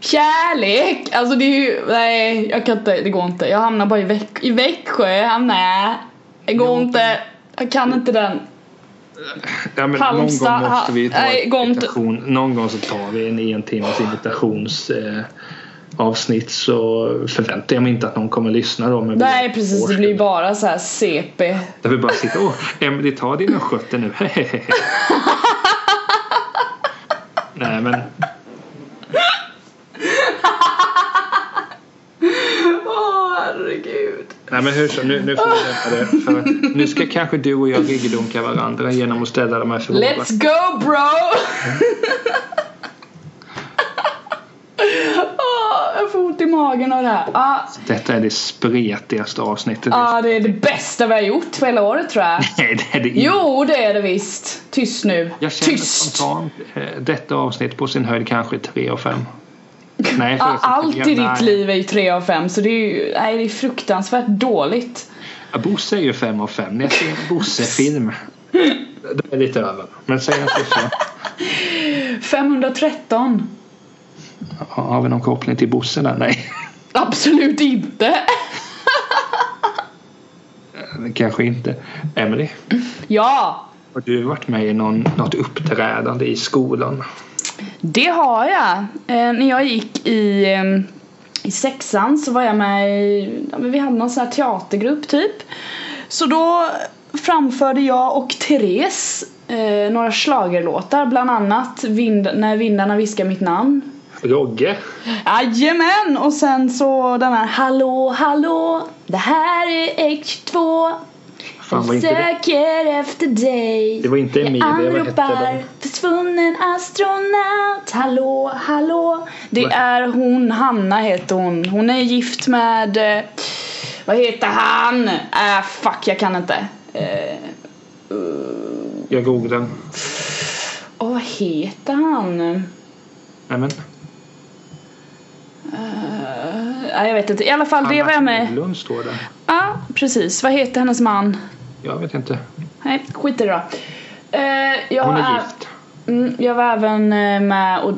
Speaker 2: Kärlek! Alltså det är ju, nej jag kan inte, det går inte. Jag hamnar bara i, Väx- i Växjö, jag hamnar, det går inte. Jag kan inte den.
Speaker 1: Ja, men någon
Speaker 2: Halmstad,
Speaker 1: gång måste vi ta
Speaker 2: ha- nej,
Speaker 1: en
Speaker 2: går inte.
Speaker 1: imitation. Någon gång så tar vi en en timmes imitations eh, avsnitt så förväntar jag mig inte att någon kommer lyssna då. Men
Speaker 2: Nej precis, det blir bara så här CP.
Speaker 1: Där vi bara sitter åh Emelie ta dina skötter nu. <laughs> Nej men
Speaker 2: Åh herregud.
Speaker 1: Nej men hur så, nu, nu får vi lämna det. För <laughs> nu ska kanske du och jag riggeldunka varandra genom att ställa de här frågorna.
Speaker 2: Let's go bro! <laughs> Åh, Ah, jag får ont i magen av det här. Ja,
Speaker 1: Detta är det spretigaste avsnittet.
Speaker 2: ah, det är det bästa vi har gjort för hela året tror jag.
Speaker 1: Nej det är det inte.
Speaker 2: Jo, det är det visst. Tyst nu.
Speaker 1: Jag känner
Speaker 2: Tyst!
Speaker 1: spontant eh, detta avsnitt på sin höjd kanske 3 av 5. Nej,
Speaker 2: Ja,
Speaker 1: förresten,
Speaker 2: Ah, allt i
Speaker 1: tre- nej.
Speaker 2: ditt liv är ju 3 av 5 så det är ju nej, det är fruktansvärt dåligt.
Speaker 1: Ja, Bosse är ju 5 av 5. När jag ser en Bosse-film. Då är det lite över. Men säg inte så.
Speaker 2: 513.
Speaker 1: Har vi någon koppling till Bosse där? Nej.
Speaker 2: Absolut inte! <laughs>
Speaker 1: Kanske inte. Emily,
Speaker 2: Ja,
Speaker 1: har du varit med i någon, något uppträdande i skolan?
Speaker 2: Det har jag. Eh, när jag gick i, eh, i sexan så var jag med i, ja, men vi hade någon sån här teatergrupp typ. Så då framförde jag och Therese eh, några schlagerlåtar, bland annat vind, När vindarna viskar mitt namn.
Speaker 1: Rogge?
Speaker 2: Jajamän! Och sen så den här Hallå hallå, det här är X2.
Speaker 1: Fan, var
Speaker 2: Jag
Speaker 1: inte det.
Speaker 2: söker efter dig.
Speaker 1: Det var inte Emilia,
Speaker 2: Jag
Speaker 1: vad hette
Speaker 2: anropar
Speaker 1: den?
Speaker 2: försvunnen astronaut. Hallå, hallå. Det
Speaker 1: Vad-
Speaker 2: är hon, Hanna heter hon. Hon är gift med... eh, Vad heter han? Äh, fuck, jag kan inte. Eh,
Speaker 1: Jag googlar.
Speaker 2: Åh, vad heter han?
Speaker 1: Nämen.
Speaker 2: Eh, Nej, jag vet inte. I alla fall, det var jag med.
Speaker 1: Lund står där.
Speaker 2: Ja, precis. Vad heter hennes man?
Speaker 1: Jag vet inte.
Speaker 2: Nej, skit i det då. Eh, jag
Speaker 1: Hon
Speaker 2: har-
Speaker 1: är gift.
Speaker 2: Mm, jag var även eh, med och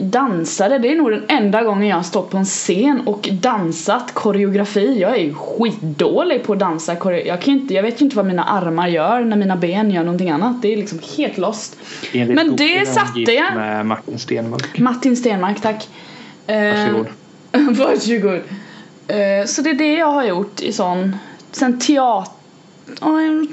Speaker 2: dansade. Det är nog den enda gången jag har stått på en scen och dansat koreografi. Jag är ju skitdålig på att dansa koreo- jag, kan ju inte, jag vet ju inte vad mina armar gör när mina ben gör någonting annat. Det är liksom helt lost.
Speaker 1: Enligt
Speaker 2: Men
Speaker 1: Google är
Speaker 2: det
Speaker 1: hon
Speaker 2: satte
Speaker 1: gift
Speaker 2: jag.
Speaker 1: med Martin Stenmarck.
Speaker 2: Martin Stenmark, tack. Eh,
Speaker 1: Varsågod.
Speaker 2: <laughs> Varsågod. Eh, Så det är det jag har gjort i sån, sen teater,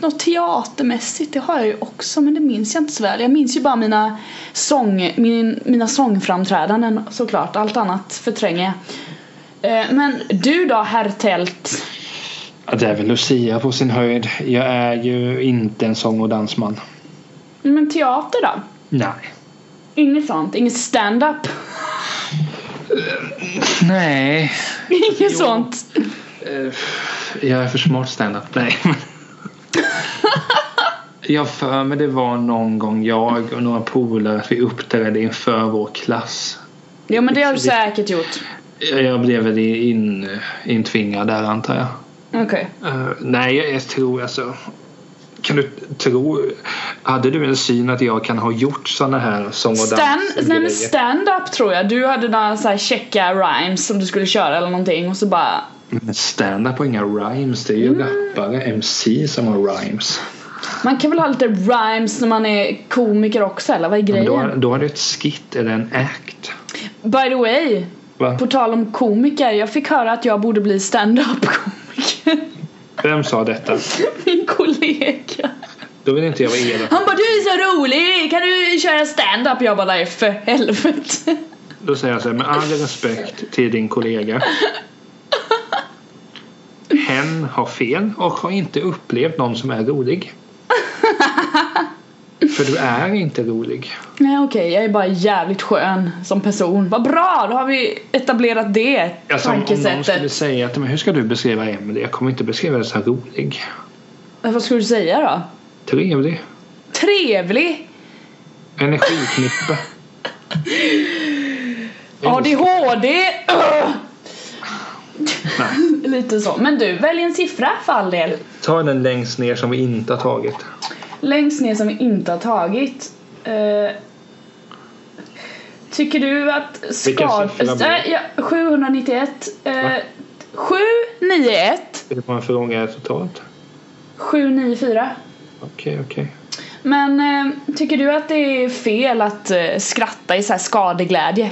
Speaker 2: något teatermässigt, det har jag ju också men det minns jag inte så väl. Jag minns ju bara mina, sång, min, mina sångframträdanden såklart, allt annat förtränger jag. Eh, Men du då herr Tält?
Speaker 1: Ja, det är väl Lucia på sin höjd. Jag är ju inte en sång och dansman.
Speaker 2: Men teater då?
Speaker 1: Nej.
Speaker 2: Inget sånt? Inget stand-up? <laughs>
Speaker 1: Nej.
Speaker 2: Inget sånt?
Speaker 1: Eh, Jag är för smart standup. Nej.
Speaker 2: <laughs>
Speaker 1: Jag för mig det var någon gång jag och några polare att vi uppträdde inför vår klass.
Speaker 2: Jo men det har du
Speaker 1: Det- det-
Speaker 2: säkert gjort.
Speaker 1: Jag blev väl in, intvingad där antar jag.
Speaker 2: Okej.
Speaker 1: Eh, nej, jag, jag tror alltså. Kan du tro? Hade du en syn att jag kan ha gjort såna här sång och
Speaker 2: Stan, nej men
Speaker 1: dansgrejer?
Speaker 2: stand-up tror jag. Du hade några så här checka rhymes som du skulle köra eller någonting och så bara
Speaker 1: Men stand-up har inga rhymes. Det är
Speaker 2: Mm.
Speaker 1: ju rappare, MC som har rhymes.
Speaker 2: Man kan väl ha lite rhymes när man är komiker också eller vad är
Speaker 1: Men
Speaker 2: grejen?
Speaker 1: då, har- då har du ett skit eller en act.
Speaker 2: By the way,
Speaker 1: Va?
Speaker 2: på tal om komiker. Jag fick höra att jag borde bli stand-up komiker.
Speaker 1: Vem sa detta?
Speaker 2: <laughs> Min kollega.
Speaker 1: Då vill inte jag vara elak.
Speaker 2: Han bara du är så rolig, kan du köra stand-up? Jag bara nej för helvete. <laughs>
Speaker 1: Då säger jag så här, med all respekt till din kollega. Hen har fel och har inte upplevt någon som är rolig. För du är inte rolig.
Speaker 2: Nej okej, jag är bara jävligt skön som person. Vad bra, då har vi etablerat det
Speaker 1: Alltså, om, om någon
Speaker 2: tankesättet.
Speaker 1: skulle säga att men hur ska du beskriva Emelie? Jag kommer inte beskriva dig som rolig.
Speaker 2: Vad skulle du säga då?
Speaker 1: Trevlig.
Speaker 2: Trevlig,
Speaker 1: Energiknippe.
Speaker 2: ADHD, Ugh. <laughs> Lite så. Men du, välj en siffra för all del.
Speaker 1: Ta den längst ner som vi inte har tagit.
Speaker 2: Längst ner som vi inte har tagit. Eh, tycker du att
Speaker 1: Vilken
Speaker 2: skad...
Speaker 1: siffra blir det?
Speaker 2: Äh, ja, 791. Eh, 791.
Speaker 1: Hur många frågor är det totalt?
Speaker 2: 794.
Speaker 1: Okej, okej.
Speaker 2: Men eh, tycker du att det är fel att eh, skratta i så här skadeglädje?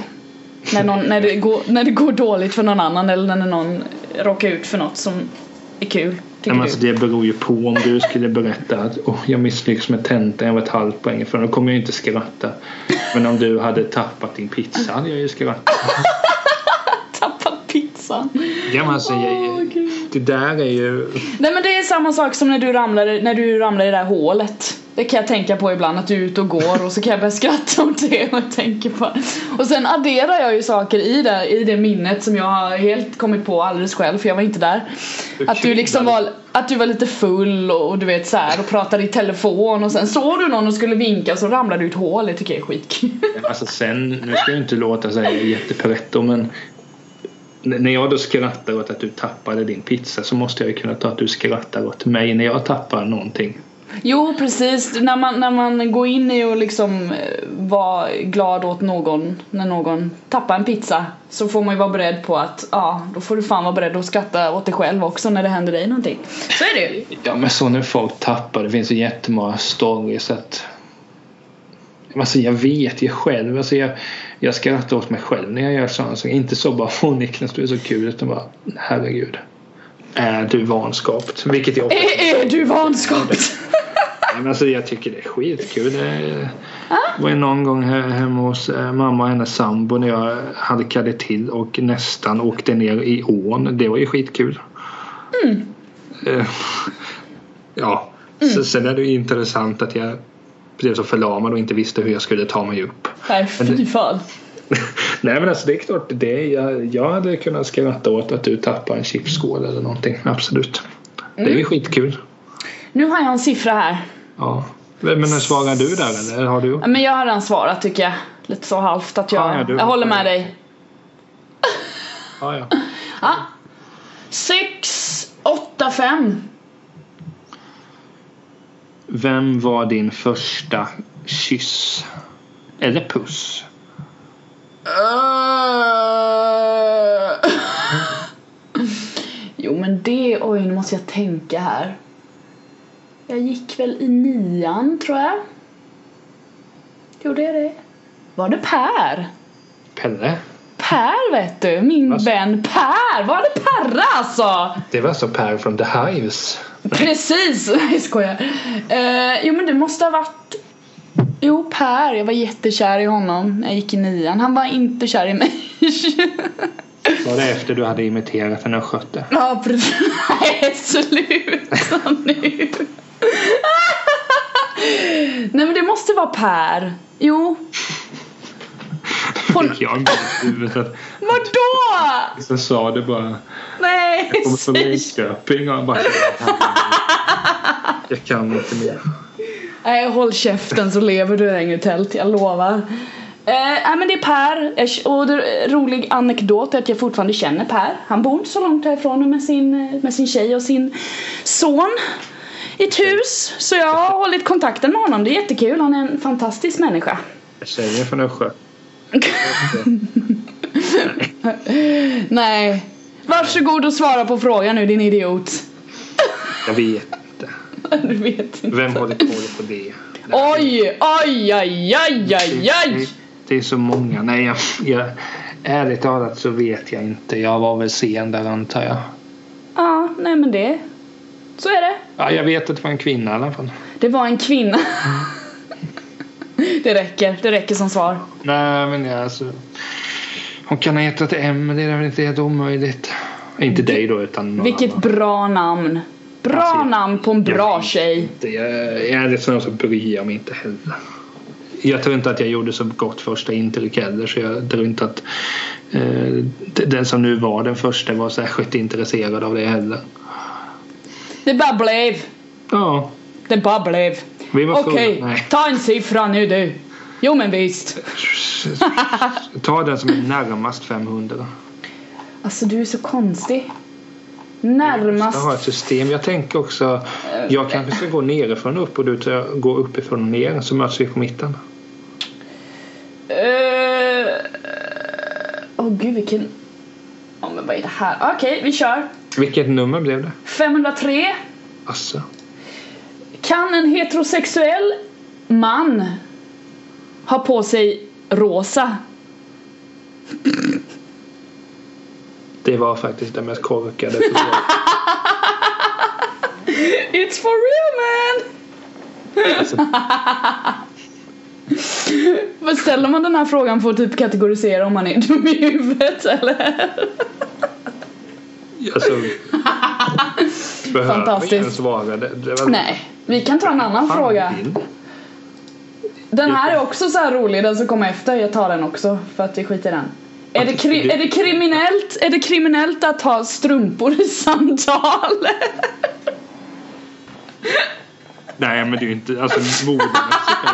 Speaker 2: När, någon, när, det går, när det går dåligt för någon annan eller när någon råkar ut för något som är kul?
Speaker 1: Nej,
Speaker 2: Tycker
Speaker 1: men alltså,
Speaker 2: du?
Speaker 1: det beror ju på om du skulle berätta att "Åh, jag misslyckas med tentan, jag var ett halvt poäng ifrån. Då kommer jag inte skratta. Men om du hade tappat din pizza hade jag ju skrattat. alltså-
Speaker 2: <laughs> Tappa pizzan.
Speaker 1: Ja, men alltså,
Speaker 2: Åh,
Speaker 1: jag,
Speaker 2: Gud.
Speaker 1: det där är ju...
Speaker 2: Nej men det är samma sak som när du ramlar, när du ramlar i det där hålet. Det kan jag tänka på ibland, att du är ute och går och så kan jag börja skratta åt det och jag tänker på Och sen adderar jag ju saker i det, i det minnet som jag har helt kommit på alldeles själv för jag var inte där. Att du liksom var, att du var lite full och, och du vet så här och pratade i telefon och sen såg du någon och skulle vinka och så ramlade du i ett hål, det tycker jag är skitkul.
Speaker 1: Alltså sen, nu ska jag inte låta så här jättepretto men n- när jag då skrattar åt att du tappade din pizza så måste jag ju kunna ta att du skrattar åt mig när jag tappar någonting.
Speaker 2: Jo precis, när man, när man går in i och liksom eh, vara glad åt någon när någon tappar en pizza så får man ju vara beredd på att ja, då får du fan vara beredd att skratta åt dig själv också när det händer dig någonting. Så är
Speaker 1: <laughs>
Speaker 2: det ju.
Speaker 1: Ja men så när folk tappar, det finns ju jättemånga stories att Alltså jag vet ju själv, alltså jag, jag skrattar åt mig själv när jag gör sådana saker. Inte så bara <laughs> åh Niklas du är så kul utan bara herregud. Är du vanskapt? Vilket jag också
Speaker 2: Är, är du vanskapt?
Speaker 1: Nej, men alltså, jag tycker det är skitkul. Det var ju någon gång he- hemma hos eh, mamma och hennes sambo när jag halkade till och nästan åkte ner i ån. Det var ju skitkul. Eh, Ja, så, sen är det ju intressant att jag blev så förlamad och inte visste hur jag skulle ta mig upp. <laughs>
Speaker 2: Nej fy fan.
Speaker 1: Nej men alltså det är klart, det är, jag, jag hade kunnat skratta åt att du tappar en chipsskål eller någonting. Absolut. Det är ju skitkul.
Speaker 2: Nu har jag en siffra här.
Speaker 1: Ja. Men svarar du där eller har du?
Speaker 2: Ja, Men jag har redan svarat tycker jag. Lite så halvt att jag,
Speaker 1: Ja, ja, du-
Speaker 2: jag håller med dig.
Speaker 1: Ja, ja.
Speaker 2: 6, 8, 5.
Speaker 1: Vem var din första kyss? Eller puss?
Speaker 2: Eh. <laughs> jo men det, oj nu måste jag tänka här. Jag gick väl i nian tror jag. Gjorde jag det? Var det Per?
Speaker 1: Pelle?
Speaker 2: Per vet du, min
Speaker 1: Alltså.
Speaker 2: vän Per! Var det Perra alltså?
Speaker 1: Det var alltså Per från The Hives.
Speaker 2: Precis! <laughs> Nej jag skojar. Eh, jo men det måste ha varit Jo Per, jag var jättekär i honom när jag gick i nian. Han var inte kär i mig. <laughs>
Speaker 1: Var det efter du hade imiterat en östgöte?
Speaker 2: Ja precis. Nej sluta nu. Nej men det måste vara Per. Jo. Hon-
Speaker 1: Fick jag en bild i huvudet.
Speaker 2: Vadå?
Speaker 1: Så sa du bara
Speaker 2: Nej
Speaker 1: kommer från
Speaker 2: säg.
Speaker 1: Linköping och jag bara Jag kan inte mer.
Speaker 2: Nej håll käften så lever du längre i tält, jag lovar. Eh, nej men det är Per. Jag k- Och det, rolig anekdot är att jag fortfarande känner Per. Han bor inte så långt härifrån nu med sin, eh, med sin tjej och sin son. I ett hus. Så jag har hållit kontakten med honom. Det är jättekul. Han är en fantastisk människa.
Speaker 1: Tjejen från Östgöte.
Speaker 2: Nej. Varsågod och svara på frågan nu din idiot.
Speaker 1: Jag vet inte.
Speaker 2: <laughs> Du vet inte.
Speaker 1: Vem håller koll på det?
Speaker 2: Oj, oj, oj, oj, oj, oj.
Speaker 1: Det är så många. Nej, jag, jag, ärligt talat så vet jag inte. Jag var väl sen där antar jag.
Speaker 2: Ja, nej men det. Så är det.
Speaker 1: Ja, jag vet att det var en kvinna i alla fall.
Speaker 2: Det var en kvinna. Det räcker, det räcker som svar.
Speaker 1: Nej, men jag, alltså. Hon kan ha hetat M, men det är väl inte helt omöjligt. Inte dig då, utan någon
Speaker 2: Vilket
Speaker 1: annan.
Speaker 2: bra namn.
Speaker 1: Jag
Speaker 2: Bra
Speaker 1: ser-
Speaker 2: namn på en bra
Speaker 1: vet
Speaker 2: tjej.
Speaker 1: Inte, jag, ärligt talat så bryr jag mig inte heller. Jag tror inte att jag gjorde så gott första intryck heller, så jag tror inte att eh, d- den som nu var den första var särskilt intresserad av det heller.
Speaker 2: Det bara blev.
Speaker 1: Ja,
Speaker 2: Det bara blev.
Speaker 1: vi var
Speaker 2: Okej,
Speaker 1: fulla.
Speaker 2: <laughs>
Speaker 1: Nej.
Speaker 2: ta en siffra nu du. Jo men visst.
Speaker 1: Ta den som är närmast 500.
Speaker 2: Alltså du är så konstig.
Speaker 1: Jag har
Speaker 2: Närmast.
Speaker 1: ett system. Jag tänker också, jag kanske ska gå nerifrån och upp och du tar- går uppifrån och ner så möts vi på mitten.
Speaker 2: Åh oh, Eh, gud vilken... Ja men vad är det här? Okej, vi kör.
Speaker 1: Vilket nummer blev det?
Speaker 2: 503.
Speaker 1: Alltså,
Speaker 2: Kan en heterosexuell man ha på sig rosa?
Speaker 1: det var faktiskt det mest korkade. förslaget.
Speaker 2: It's for real man!
Speaker 1: Alltså,
Speaker 2: Vad ställer man den här frågan för att typ kategorisera om man är dum i huvudet eller?
Speaker 1: alltså, behöver
Speaker 2: Fantastiskt.
Speaker 1: vi ens svara? Det, det var
Speaker 2: Nej, vi kan ta en annan
Speaker 1: Fan,
Speaker 2: fråga.
Speaker 1: vill.
Speaker 2: Den här är också så här rolig, den som kommer efter. Jag tar den också för att vi skiter i den. Är det, kri- är, det kriminellt, är det kriminellt att ha strumpor i <laughs> samtal?
Speaker 1: Nej, men det är ju inte, alltså modemässigt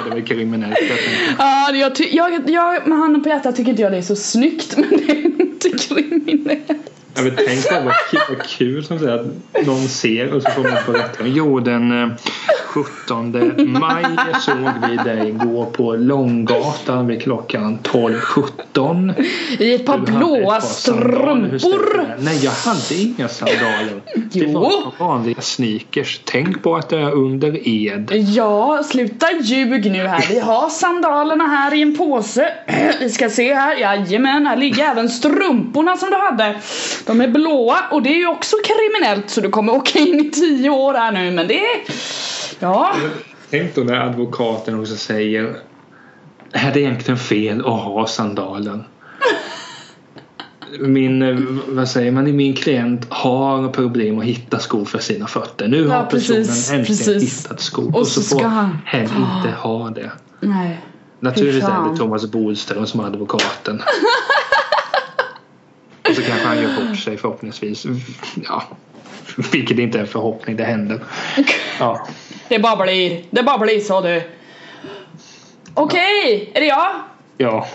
Speaker 1: är det väl kriminellt. jag tänker.
Speaker 2: Ja, det- jag, ty- jag, jag, med handen på hjärtat tycker inte jag det är så snyggt <laughs> men det är inte kriminellt.
Speaker 1: Jag vet, tänk på vad, ki- vad kul som säger att någon ser och så får man på rätta. Jo, den eh, 17 maj såg vi dig gå på Långgatan vid klockan 12.17.
Speaker 2: I ett
Speaker 1: Du
Speaker 2: par
Speaker 1: hade ett
Speaker 2: blåa
Speaker 1: par sandaler. Hur stämmer
Speaker 2: strumpor!
Speaker 1: det? Nej, jag hade inga sandaler. Det
Speaker 2: Jo.
Speaker 1: var ett par vanliga sneakers. Tänk på att det är under ed.
Speaker 2: Ja, sluta ljug nu här. Vi har sandalerna här i en påse. <clears throat> Vi ska se här. Jajamän, här ligger även strumporna som du hade. De är blåa och det är ju också kriminellt så du kommer åka in i tio år här nu men det... Ja.
Speaker 1: Tänk då när advokaten också säger är det egentligen fel att ha sandalen?
Speaker 2: <laughs>
Speaker 1: Min, eh, vad säger man, min klient har problem att hitta skor för sina fötter. Nu har personen
Speaker 2: precis,
Speaker 1: äntligen
Speaker 2: precis.
Speaker 1: hittat skor och,
Speaker 2: Och
Speaker 1: så,
Speaker 2: så
Speaker 1: får
Speaker 2: ska han-
Speaker 1: hen inte ha det.
Speaker 2: Nej.
Speaker 1: Naturligtvis är
Speaker 2: fan?
Speaker 1: det Thomas Bodström som är
Speaker 2: <laughs>
Speaker 1: advokaten. Och så kanske han gör bort sig förhoppningsvis. Ja, vilket inte är en förhoppning, det
Speaker 2: <laughs>
Speaker 1: händer. Ja.
Speaker 2: Det bara blir. Det bara blir så du. Okej, är det jag?
Speaker 1: ja.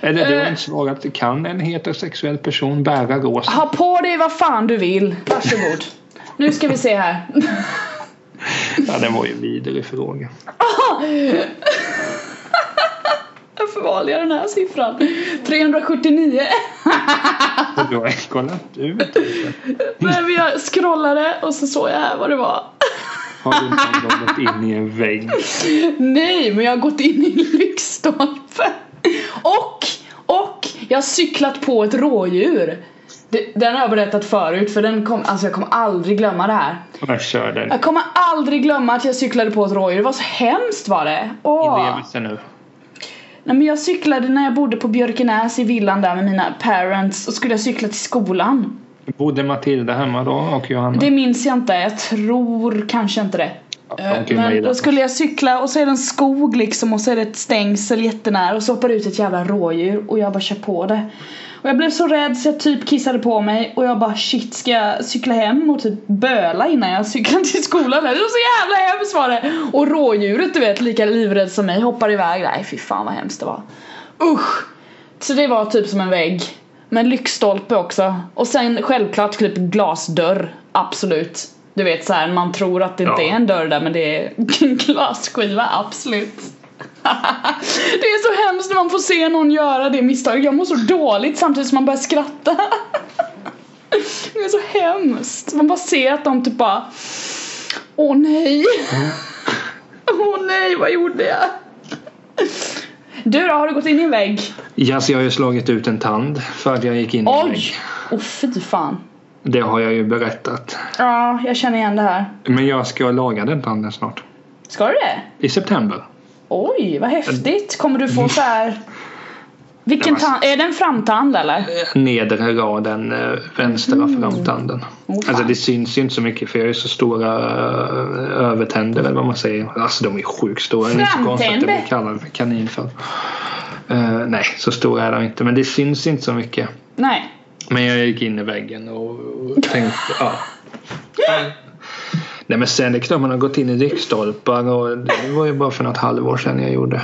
Speaker 1: Eller du har
Speaker 2: Eh.
Speaker 1: inte svarat. Kan en heterosexuell person bära rosa?
Speaker 2: Ha på dig vad fan du vill. Varsågod. Nu ska vi se här. <laughs>
Speaker 1: Ja, den var ju vidare fråga.
Speaker 2: Varför valde jag den här siffran? 379.
Speaker 1: Och du har kollat ut.
Speaker 2: Nej men jag scrollade och så såg jag här vad det var.
Speaker 1: Har du någon gång gått in i en vägg?
Speaker 2: Nej men jag har gått in i en lyktstolpe. Och, och jag har cyklat på ett rådjur. Det- Den har jag berättat förut för den kom, alltså jag kommer aldrig glömma det här.
Speaker 1: Jag kör den.
Speaker 2: Jag kommer aldrig glömma att jag cyklade på ett rådjur, det var så hemskt var det. Åh.
Speaker 1: Inlevelse nu.
Speaker 2: Nej men jag cyklade när jag bodde på Björkenäs i villan där med mina parents och skulle jag cykla till skolan.
Speaker 1: Bodde Matilda hemma då och Johanna?
Speaker 2: Det minns jag inte, jag tror kanske inte det. Eh,
Speaker 1: okej,
Speaker 2: Men
Speaker 1: Maria.
Speaker 2: då skulle jag cykla och så är det en skog liksom och så är det ett stängsel jättenära och så hoppar det ut ett jävla rådjur och jag bara kör på det. Och jag blev så rädd så jag typ kissade på mig och jag bara shit ska jag cykla hem och typ böla innan jag cyklar till skolan? Det var så jävla hemskt var det! Och rådjuret du vet lika livrädd som mig hoppar iväg. Nej fy fan vad hemskt det var. Usch! Så det var typ som en vägg. Med en lyktstolpe också. Och sen självklart typ glasdörr. Absolut. Du vet så här, man tror att det inte
Speaker 1: Ja.
Speaker 2: är en dörr där men det är <laughs> en glasskiva, absolut. <laughs> det är så hemskt när man får se någon göra det misstaget. Jag mår så dåligt samtidigt som man börjar skratta. <laughs> Det är så hemskt. Man bara ser att de typ bara Åh nej. <laughs> Åh nej, vad gjorde jag? Du då, har du gått in i en vägg?
Speaker 1: Ja, så jag har ju slagit ut en tand för att jag gick in i en
Speaker 2: Oj!
Speaker 1: vägg.
Speaker 2: Åh fy fan.
Speaker 1: Det har jag ju berättat.
Speaker 2: Ja, jag känner igen det här.
Speaker 1: Men jag ska laga den tanden snart.
Speaker 2: Ska du det?
Speaker 1: I september.
Speaker 2: Oj, vad häftigt. Kommer du få så här... Vilken
Speaker 1: Nej, Mm. men- Eh,
Speaker 2: tand? Är det en framtand eller?
Speaker 1: nedre raden, eh, vänstra framtanden.
Speaker 2: Åh, Mm. Oh, fan.
Speaker 1: Alltså det syns ju inte så mycket för jag har ju så stora eh, övertänder eller vad man säger. Alltså de är sjukt stora. Det är inte så konstigt att jag
Speaker 2: Framtänder?
Speaker 1: blir kallad för kanin för. Eh, nej, så stora är de inte. Men det syns inte så mycket.
Speaker 2: Nej.
Speaker 1: Men jag gick in i väggen och och tänkte, ja. Nej men sen det är klart man har gått in i lyktstolpar och det var ju bara för något halvår sedan jag
Speaker 2: <laughs>
Speaker 1: gjorde.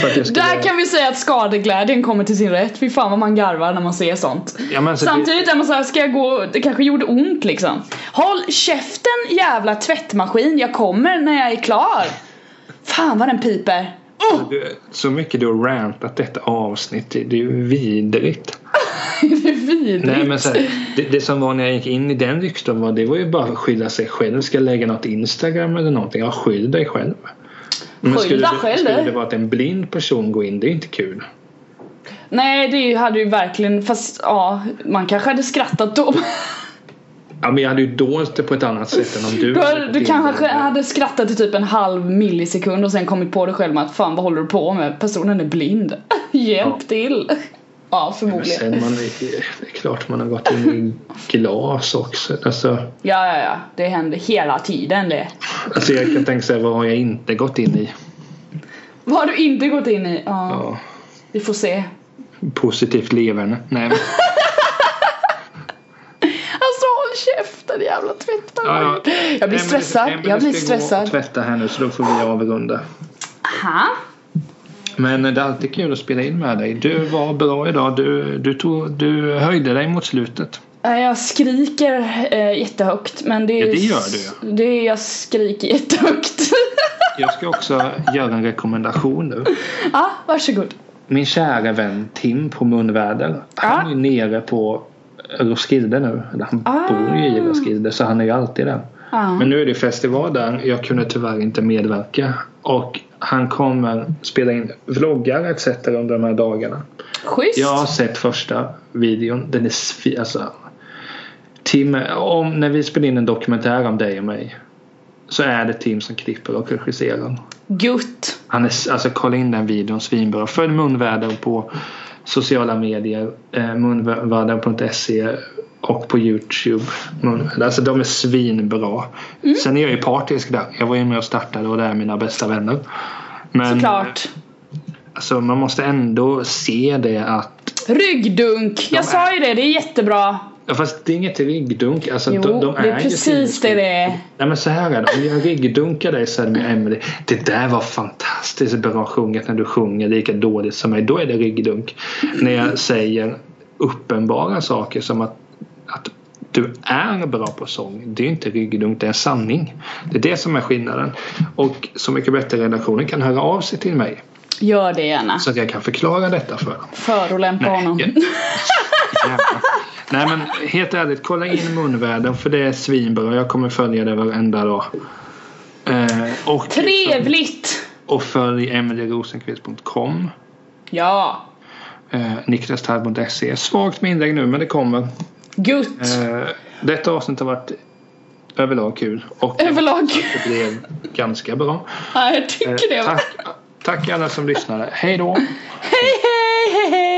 Speaker 1: För att jag skulle-
Speaker 2: Där kan vi säga att skadeglädjen kommer till sin rätt. Fy fan vad man garvar när man ser sånt.
Speaker 1: Ja, men alltså det-
Speaker 2: Samtidigt är man såhär, ska jag gå? Det kanske gjorde ont liksom. Håll käften jävla tvättmaskin, jag kommer när jag är klar. Fan vad den piper. <laughs> Oh!
Speaker 1: Du- Så mycket du har rantat detta avsnitt, det det är ju vidrigt.
Speaker 2: Det är vidrigt.
Speaker 1: Nej, men så <laughs> här, det, det som var när jag gick in i den lyxen var, det var ju bara att skylla sig själv. Ska jag lägga något Instagram eller någonting? Ja, skyll dig själv. Men
Speaker 2: Skyll
Speaker 1: skulle,
Speaker 2: dig
Speaker 1: det,
Speaker 2: själv,
Speaker 1: skulle
Speaker 2: du.
Speaker 1: det vara att en blind person går in, det är inte kul.
Speaker 2: Nej det är ju- hade ju verkligen, fast ja, man kanske hade skrattat då. <laughs>
Speaker 1: Ja, men jag hade ju dolt det på ett annat sätt än om du...
Speaker 2: Du,
Speaker 1: hade
Speaker 2: har,
Speaker 1: gått
Speaker 2: du
Speaker 1: in
Speaker 2: kanske
Speaker 1: där.
Speaker 2: hade skrattat i typ en halv millisekund och sen kommit på dig själv med att fan vad håller du på med? Personen är blind. <laughs> Hjälp
Speaker 1: Ja.
Speaker 2: till. Ja
Speaker 1: Men
Speaker 2: förmodligen.
Speaker 1: sen man, det är klart man har gått in i glas också. Alltså,
Speaker 2: Ja, ja, ja. Det händer hela tiden det.
Speaker 1: alltså jag kan tänka så här, vad har jag inte gått in i?
Speaker 2: Vad har du inte gått in i? Ja,
Speaker 1: Ja,
Speaker 2: vi får se.
Speaker 1: positivt leverne. Nej, men...
Speaker 2: Alltså håll käften jävla tvättmaskin.
Speaker 1: Ja, ja.
Speaker 2: <laughs> Jag
Speaker 1: Nej,
Speaker 2: blir
Speaker 1: men-
Speaker 2: stressad.
Speaker 1: nej, men
Speaker 2: jag
Speaker 1: du
Speaker 2: blir
Speaker 1: ska gå och
Speaker 2: stressad.
Speaker 1: tvätta här nu så då får vi avrunda.
Speaker 2: Ha?
Speaker 1: Men det är alltid kul att spela in med dig. Du var bra idag. Du, du, tog, du höjde dig mot slutet.
Speaker 2: Nej, Jag skriker eh, jättehögt men det är...
Speaker 1: Ja, det gör du
Speaker 2: Det är jag skriker <laughs> jättehögt.
Speaker 1: Jag ska också göra en rekommendation nu.
Speaker 2: ja, varsågod.
Speaker 1: Min kära vän Tim på Munväder. Han
Speaker 2: Ja. Ah.
Speaker 1: är ju nere på Roskilde nu. Eller Han bor ju i Roskilde så han är ju alltid där.
Speaker 2: Ja.
Speaker 1: Men nu är det festival där. Jag kunde tyvärr inte medverka. Och han kommer spela in vloggar etc. under de här dagarna.
Speaker 2: Schysst.
Speaker 1: Jag har sett första videon. Den är svi... Alltså, Tim, om, när vi spelar in en dokumentär om dig och mig så är det Tim som klipper och regisserar. den.
Speaker 2: Gutt.
Speaker 1: Han är, s- alltså kolla in den videon svinbra. Följ munväder på sociala medier, eh, munväder.se och på Youtube. Munväder. Alltså de är svinbra. Sen är jag ju partisk där. Jag var ju med och startade och det är mina bästa vänner. Men eh,
Speaker 2: Såklart.
Speaker 1: Alltså, man måste ändå se det att
Speaker 2: Ryggdunk. Jag
Speaker 1: De
Speaker 2: sa ju det, det är jättebra.
Speaker 1: Ja, fast det är inget ryggdunk. Alltså,
Speaker 2: Jo,
Speaker 1: de, de är
Speaker 2: det
Speaker 1: ju
Speaker 2: är precis
Speaker 1: sinnesfulla.
Speaker 2: det det är.
Speaker 1: Nej men så här är det. Om jag ryggdunkar dig så är det med Emelie. Det där var fantastiskt bra sjunget när du sjunger lika dåligt som mig. Då är det ryggdunk. När jag säger uppenbara saker som att, att du är bra på sång. Det är inte ryggdunk, det är en sanning. Det är det som är skillnaden. Och Så mycket bättre-redaktionen kan höra av sig till mig
Speaker 2: Gör det gärna.
Speaker 1: så att jag kan förklara detta för dem.
Speaker 2: Förolämpa honom.
Speaker 1: Ja. Jävlar. Nej men helt ärligt, kolla in munvärden för det är svinbra. Jag kommer följa det varenda dag. Eh, och,
Speaker 2: Trevligt!
Speaker 1: och följ emelierosenqvist.com
Speaker 2: Ja.
Speaker 1: eh, Niklastall.se. Svagt med inlägg nu men det kommer.
Speaker 2: Gutt.
Speaker 1: Eh, detta avsnitt har varit överlag kul och
Speaker 2: Överlag. <laughs>
Speaker 1: det blev ganska bra.
Speaker 2: Ja, jag tycker
Speaker 1: Eh,
Speaker 2: det.
Speaker 1: tack, tack alla som lyssnade. Hej då!
Speaker 2: Hej, hej, hej, hej!